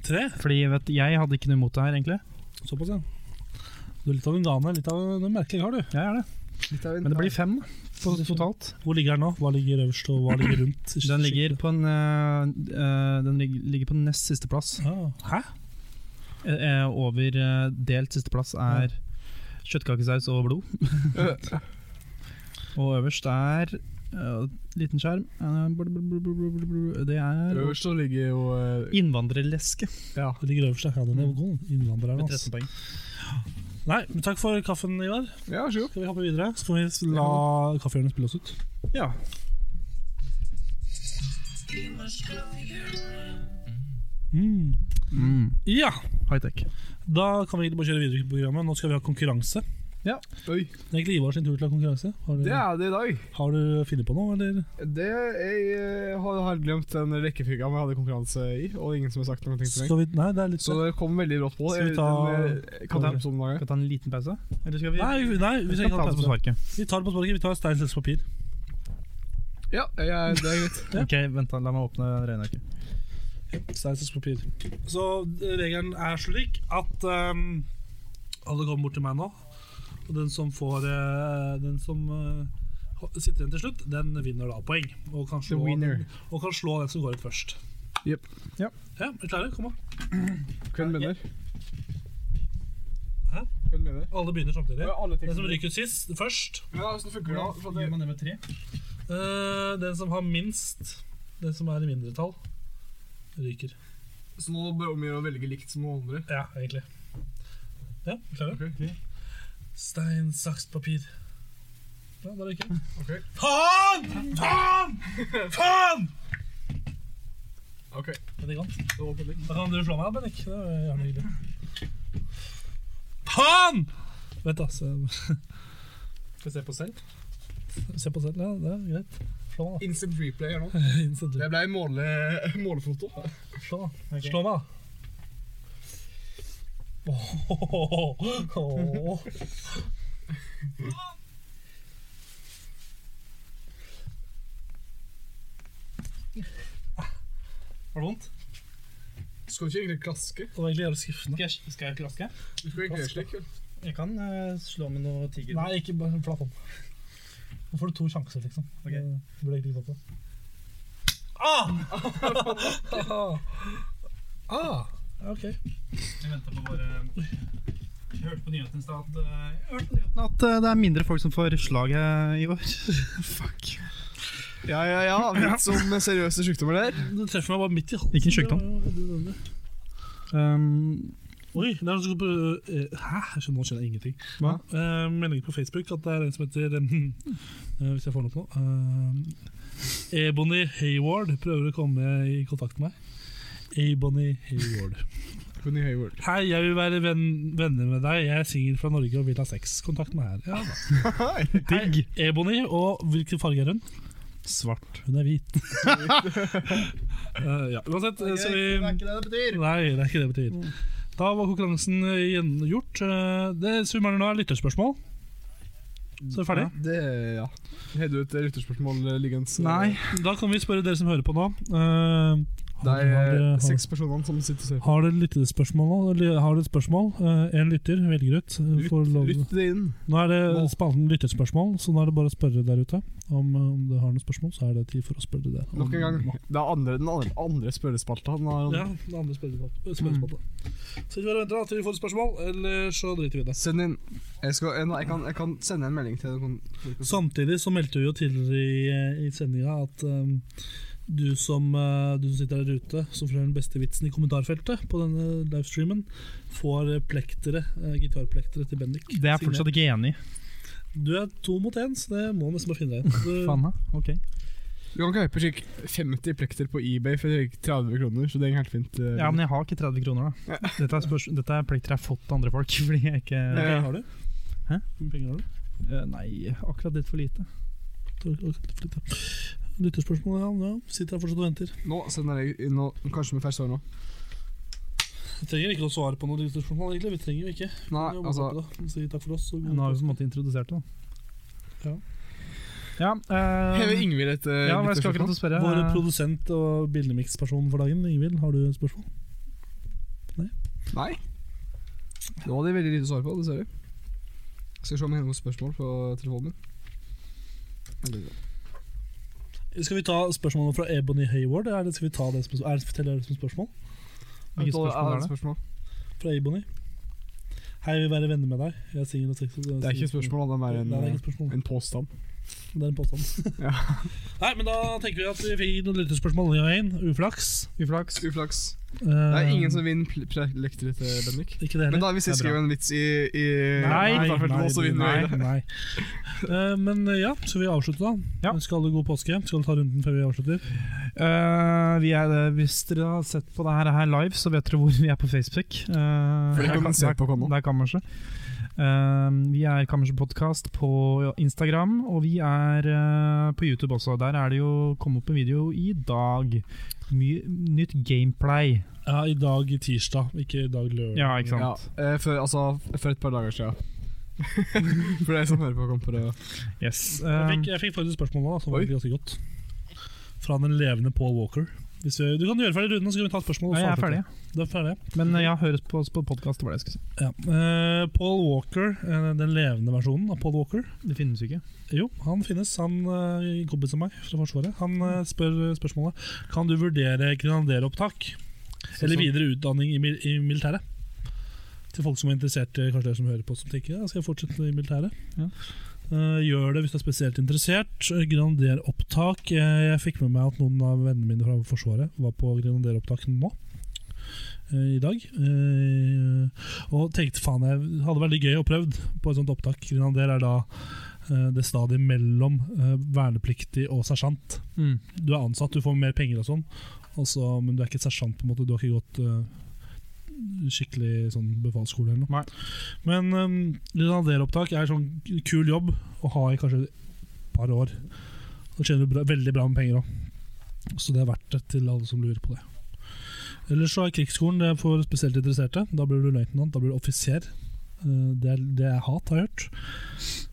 Tre? Fordi vet, du, jeg hadde ikke noe imot det her, egentlig. Såpass, ja. Du er litt av en gane. Litt av en merkelig har du. Jeg er det. Men det blir fem på, totalt. Hvor ligger den nå? Hva ligger øverst, og hva ligger rundt? Den ligger på, en, eh, eh, den lig- ligger på nest siste plass. Ah, Hæ? Eh, eh, over eh, delt siste plass er kjøttkakesaus og blod. Og øverst er eh, Liten skjerm eh, blub, blub, blub, blub, blub, blub. Det er Øverst så ligger jo eh, innvandrerleske Ja. Den ligger øverst, ja. Ja, Den er god. Innvandrer, med altså. 13 poeng. Nei, men takk for kaffen, Ivar. Ja, vær så god. Skal vi hoppe videre? Så kan vi la kaffehjørnet spille oss ut. Ja. Mm. Ja, High-tech. da kan vi egentlig bare kjøre videre i programmet. Nå skal vi ha konkurranse. Oi, Det er egentlig Ivar sin tur til å ha konkurranse. Har du, det er det i dag. har du funnet på noe, eller? Det jeg eh, har har glemt den rekkefølga vi hadde konkurranse i, og ingen som har sagt noe til meg. Skal vi Nei, det er litt Så det kom veldig brått på. Eh, Skal vi ta- katteepisoden i dag? Skal vi ta en liten pause? Eller skal vi Nei, vi- nei vi, skal Vi skal ikke ha ta det på pause. sparket. vi tar det på sparket. Vi tar stein, sølv, papir. Ja, jeg, det er greit. Ok, vent da, La meg åpne regnearket. Stein, saks, papir. Så eh, regelen er slik at ehm, alle kommer bort til meg nå. Og den som får eh, Den som eh, ho- sitter igjen til slutt, den vinner da poeng. Og kan slå, winner. og kan slå den som går ut først. Jep. Ja. Ja, er dere klare? Kom da. Hvem begynner? Hæ? Hvem begynner? Alle begynner samtidig. Ja, alle Den som tekster. ryker ut sist, først. Ja, hvordan funker det? For det man det med tre? Eh, den som har minst, den som er i mindretall, ryker. så nå bør vi å velge likt som noen andre. Ja, egentlig. Ja, er dere klare? Ok. Stein, saks, papir. Ja, da ryker den. Ok. Faen! Faen! Faen! Ok. Bendik vant. Det var Bendik. Da kan du slå meg, Bendik. Det er gjerne hyggelig. Faen! Vent, da. så- Skal vi se på selv? Se på selv. Ja, det er greit. Slå meg, Instant replay her nå. da. Innset du. Det ble måle, målefoto. Slå meg. Slå meg, da. Åh, åh, åh. Var det vondt? Skal du ikke egentlig klaske? Det var egentlig jævlig skuffende. Skal jeg, skal jeg klaske? Du skal egentlig gjøre slik. vel? Jeg kan eh, slå med noe tiger. Nei, ikke bare flatt om. Nå får du to sjanser, liksom. Ok. Det burde egentlig ikke fått det. Ah! ah! Ok. Jeg venter på bare Jeg hørte på nyhetene i stad at eh, Jeg hørte på nyhetene at eh, det er mindre folk som får slag eh, i år. Fuck. Ja, ja, ja. Litt som seriøse sykdommer der. Du treffer meg bare midt i halsen. Ikke en sykdom. Det var jo- det var jo- Um, Oi, det er noen som går på eh, Hæ? Jeg skjønner, nå skjønner jeg ingenting. hva? Eh, meldinger på Facebook at det er en som heter eh, Hvis jeg får den opp nå eh, Ebony Hayward prøver å komme i kontakt med meg. Ebony Hayward. Bunny Hayward. Hei, jeg vil være venn, venner med deg. Jeg er singel fra Norge og vil ha sex. Kontakt meg her. Ja, da. Hei, Ebony, og hvilken farge er hun? Svart. Hun er hvit. Eh, ja, uansett, eh, så vi Nei, ikke det det betyr. det er ikke det det betyr. Da var konkurransen eh, gjennomgjort. Eh, Det som vi mangler nå, er lytterspørsmål. Så er vi ferdig. Det, ja. Har du et lytterspørsmål eh, liggende? Nei. Da kan vi spørre dere som hører på nå. eh, Det har- er eh, har- seks personer som sitter og ser på. Har dere lyttespørsmål nå? Eller Har dere et spørsmål? Eh, En lytter velger ut. eh, får lov- Lytt det inn. Nå er det Nå. spalten lytterspørsmål, så nå er det bare å spørre der ute. Om, eh, om du har noen spørsmål, så er det tid for å spørre det. Nok en gang. Det er andre, den andre, andre spørrespalta. Den har- Ja, den andre Mm. spørrespalten. spørrespalten. Så vi bare venter da til vi får et spørsmål, eller så driter vi i det. Send inn. Jeg, skal, jeg, jeg, kan, jeg kan sende en melding til den. Sånn. Samtidig så meldte vi jo tidligere i, i sendinga at um, du, som, eh, du som sitter der ute, som får den beste vitsen i kommentarfeltet på denne livestreamen, får eh, plektere, eh, gitarplektere til Bendik. Det er jeg fortsatt ikke enig i. Du er to mot én, så det må nesten bare finne deg igjen. Faen, da. Ok. Du kan kjøpe slik 50 plekter på eBay for 30 kroner, så det er helt fint. eh, Ja, men jeg har ikke 30 kroner, da. Dette er, spørs dette er plikter jeg har fått av andre folk. Fordi jeg ikke Hvor mye Ja. har du? Hæ? Hvor mye penger har du? Eh, Nei, akkurat litt for lite. Lytterspørsmål, ja. ja. Sitter her fortsatt og venter. Nå sender jeg inn noe, kanskje med ferskt hår nå. Vi trenger ikke å svare på noen lytterspørsmål, egentlig. Vi trenger jo ikke. Nei, Vi kan jo bare altså håpe det. Si takk for oss. og god Nå har vi på en påske. måte introdusert det, da. Ja. Ja, eh, Hever Ingvild et eh, ja men jeg skal lytterspørsmål? akkurat å spørre. Vår eh, produsent og bildemiksperson for dagen, Ingvild, har du spørsmål? Nei. Det var det veldig lite svar på, dessverre. Skal se om jeg har noen spørsmål på telefonen min. Skal vi ta spørsmålet fra Ebony Hayward, eller skal vi ta det som, er det, forteller jeg det som spørsmål? Hvilket spørsmål er det? spørsmål? Fra Ebony. Hei, jeg vil være venner med deg. Jeg er singel og sexy. Det er ikke et spørsmål, da. Nei, det er det er en, ikke et spørsmål. en påstand. Det er en påstand. Ja. Nei, men da tenker vi at vi fikk noen lytterspørsmål. Ja, en. Uflaks. Eh, Uflaks. Uflaks. Det er ingen som vinner pl- prelektere til Bendik. Ikke Men det heller. da, hvis jeg Det er skriver bra. en vits i, i Nei, i kommentarfeltet nå, så vinner jeg nei, det. nei. Eh, men eh, ja, så vi avslutter da. Ja. Ønsker alle god påske. Skal du ta runden før vi avslutter? Eh, vi er, eh, hvis dere har sett på det her, her live, så vet dere hvor vi er på Facebook. Eh, det der kan man se der- på nå. Det er Kammerset. Eh, vi er Kammerset Podcast på Instagram, og vi er eh, på YouTube også. Der er det jo kommet opp en video i dag. Mye nytt gameplay. Ja, i dag tirsdag, ikke i dag lørdag. Ja, ikke sant? Ja, eh, for, altså, for et par dager siden. for deg som hører på, kom på det. Yes. Jeg Eh, fikk, jeg fikk faktisk spørsmål nå, da, som var Oi. ganske godt. Fra den levende Paul Walker. Hvis vi, du kan gjøre ferdig runden, så kan vi ta spørsmål. og Eh, ja, jeg så er ferdig. avslutte. Du er ferdig. Men eh, ja, høres på oss på podkast, det var det jeg skulle si. Ja. Eh, Paul Walker, eh, den levende versjonen av Paul Walker. Det finnes jo ikke. Jo, han finnes. Han eh, en kompis av meg fra Forsvaret. Han eh, spør eh, spørsmålet Kan du vurdere grenaderopptak eller videre utdanning i, mil i militæret. Til folk som er interessert, eh, kanskje dere som hører på som tenker ja, skal jeg fortsette i militæret. Ja. Eh, gjør det hvis du er spesielt interessert. Grenaderopptak. Eh, jeg fikk med meg at noen av vennene mine fra Forsvaret var på grenaderopptak nå. eh, I dag. Eh, og tenkte faen, jeg hadde veldig gøy å prøvd på et sånt opptak. Grenader er da eh, det stadiet mellom eh, vernepliktig og sersjant Mm. du er ansatt, du får mer penger og sånn, og så- men du er ikke sersjant, på en måte. Du har ikke gått eh, skikkelig sånn befalsskole eller noe. Nei. Men um, grenaderopptak er sånn kul jobb å ha i kanskje et par år. Da tjener du bra, veldig bra med penger òg, så det er verdt det til alle som lurer på det. Ellers så er krigsskolen det er for spesielt interesserte. Da blir du løytnant, da blir du offiser. Eh, Det er det jeg hat, har jeg hørt.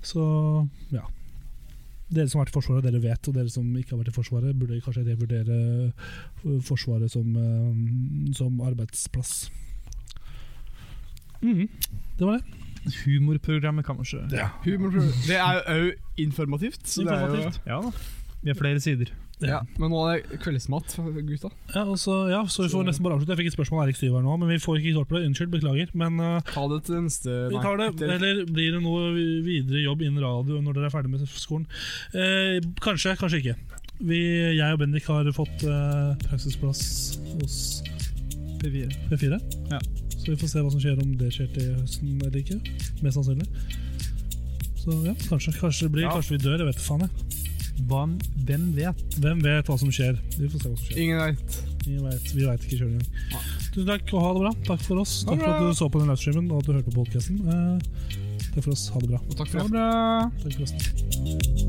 Så ja. Dere som har vært i Forsvaret, dere vet, og dere som ikke har vært i Forsvaret, burde kanskje revurdere eh, Forsvaret som, eh, som arbeidsplass. Mhm, Det var det. Humorprogrammet Kammerset. Humor, det er jo òg informativt. Så det er jo, Informativt. Ja da. Vi har flere sider. ja. Men nå er det kveldsmat for gutta. Ja, og så, ja, så vi får nesten bare avslutte. Jeg fikk et spørsmål av Erik Syver nå, men vi får ikke svart på det. Unnskyld, beklager. Men eh, Ta det til neste vi tar det. til- Eller blir det noe videre jobb innen radio når dere er ferdig med skolen? Eh, kanskje, kanskje ikke. Vi, jeg og Bendik har fått eh, praksisplass hos P4. P4. Ja. Så vi får se hva som skjer, om det skjer til høsten eller ikke. Mest sannsynlig. Så ja, kanskje, kanskje det blir. Kanskje vi dør, jeg vet faen jeg. Hva, hvem vet? Hvem vet hva som skjer? Vi får se hva som skjer. Ingen veit. Ingen vet, vi veit ikke sjøl engang. Tusen takk, og ha det bra. Takk for oss. Takk for at du så på den livestreamen og at du hørte på podkasten. Eh, takk for oss. Ha det bra. Og takk for i Ha aften. det bra! Takk for oss.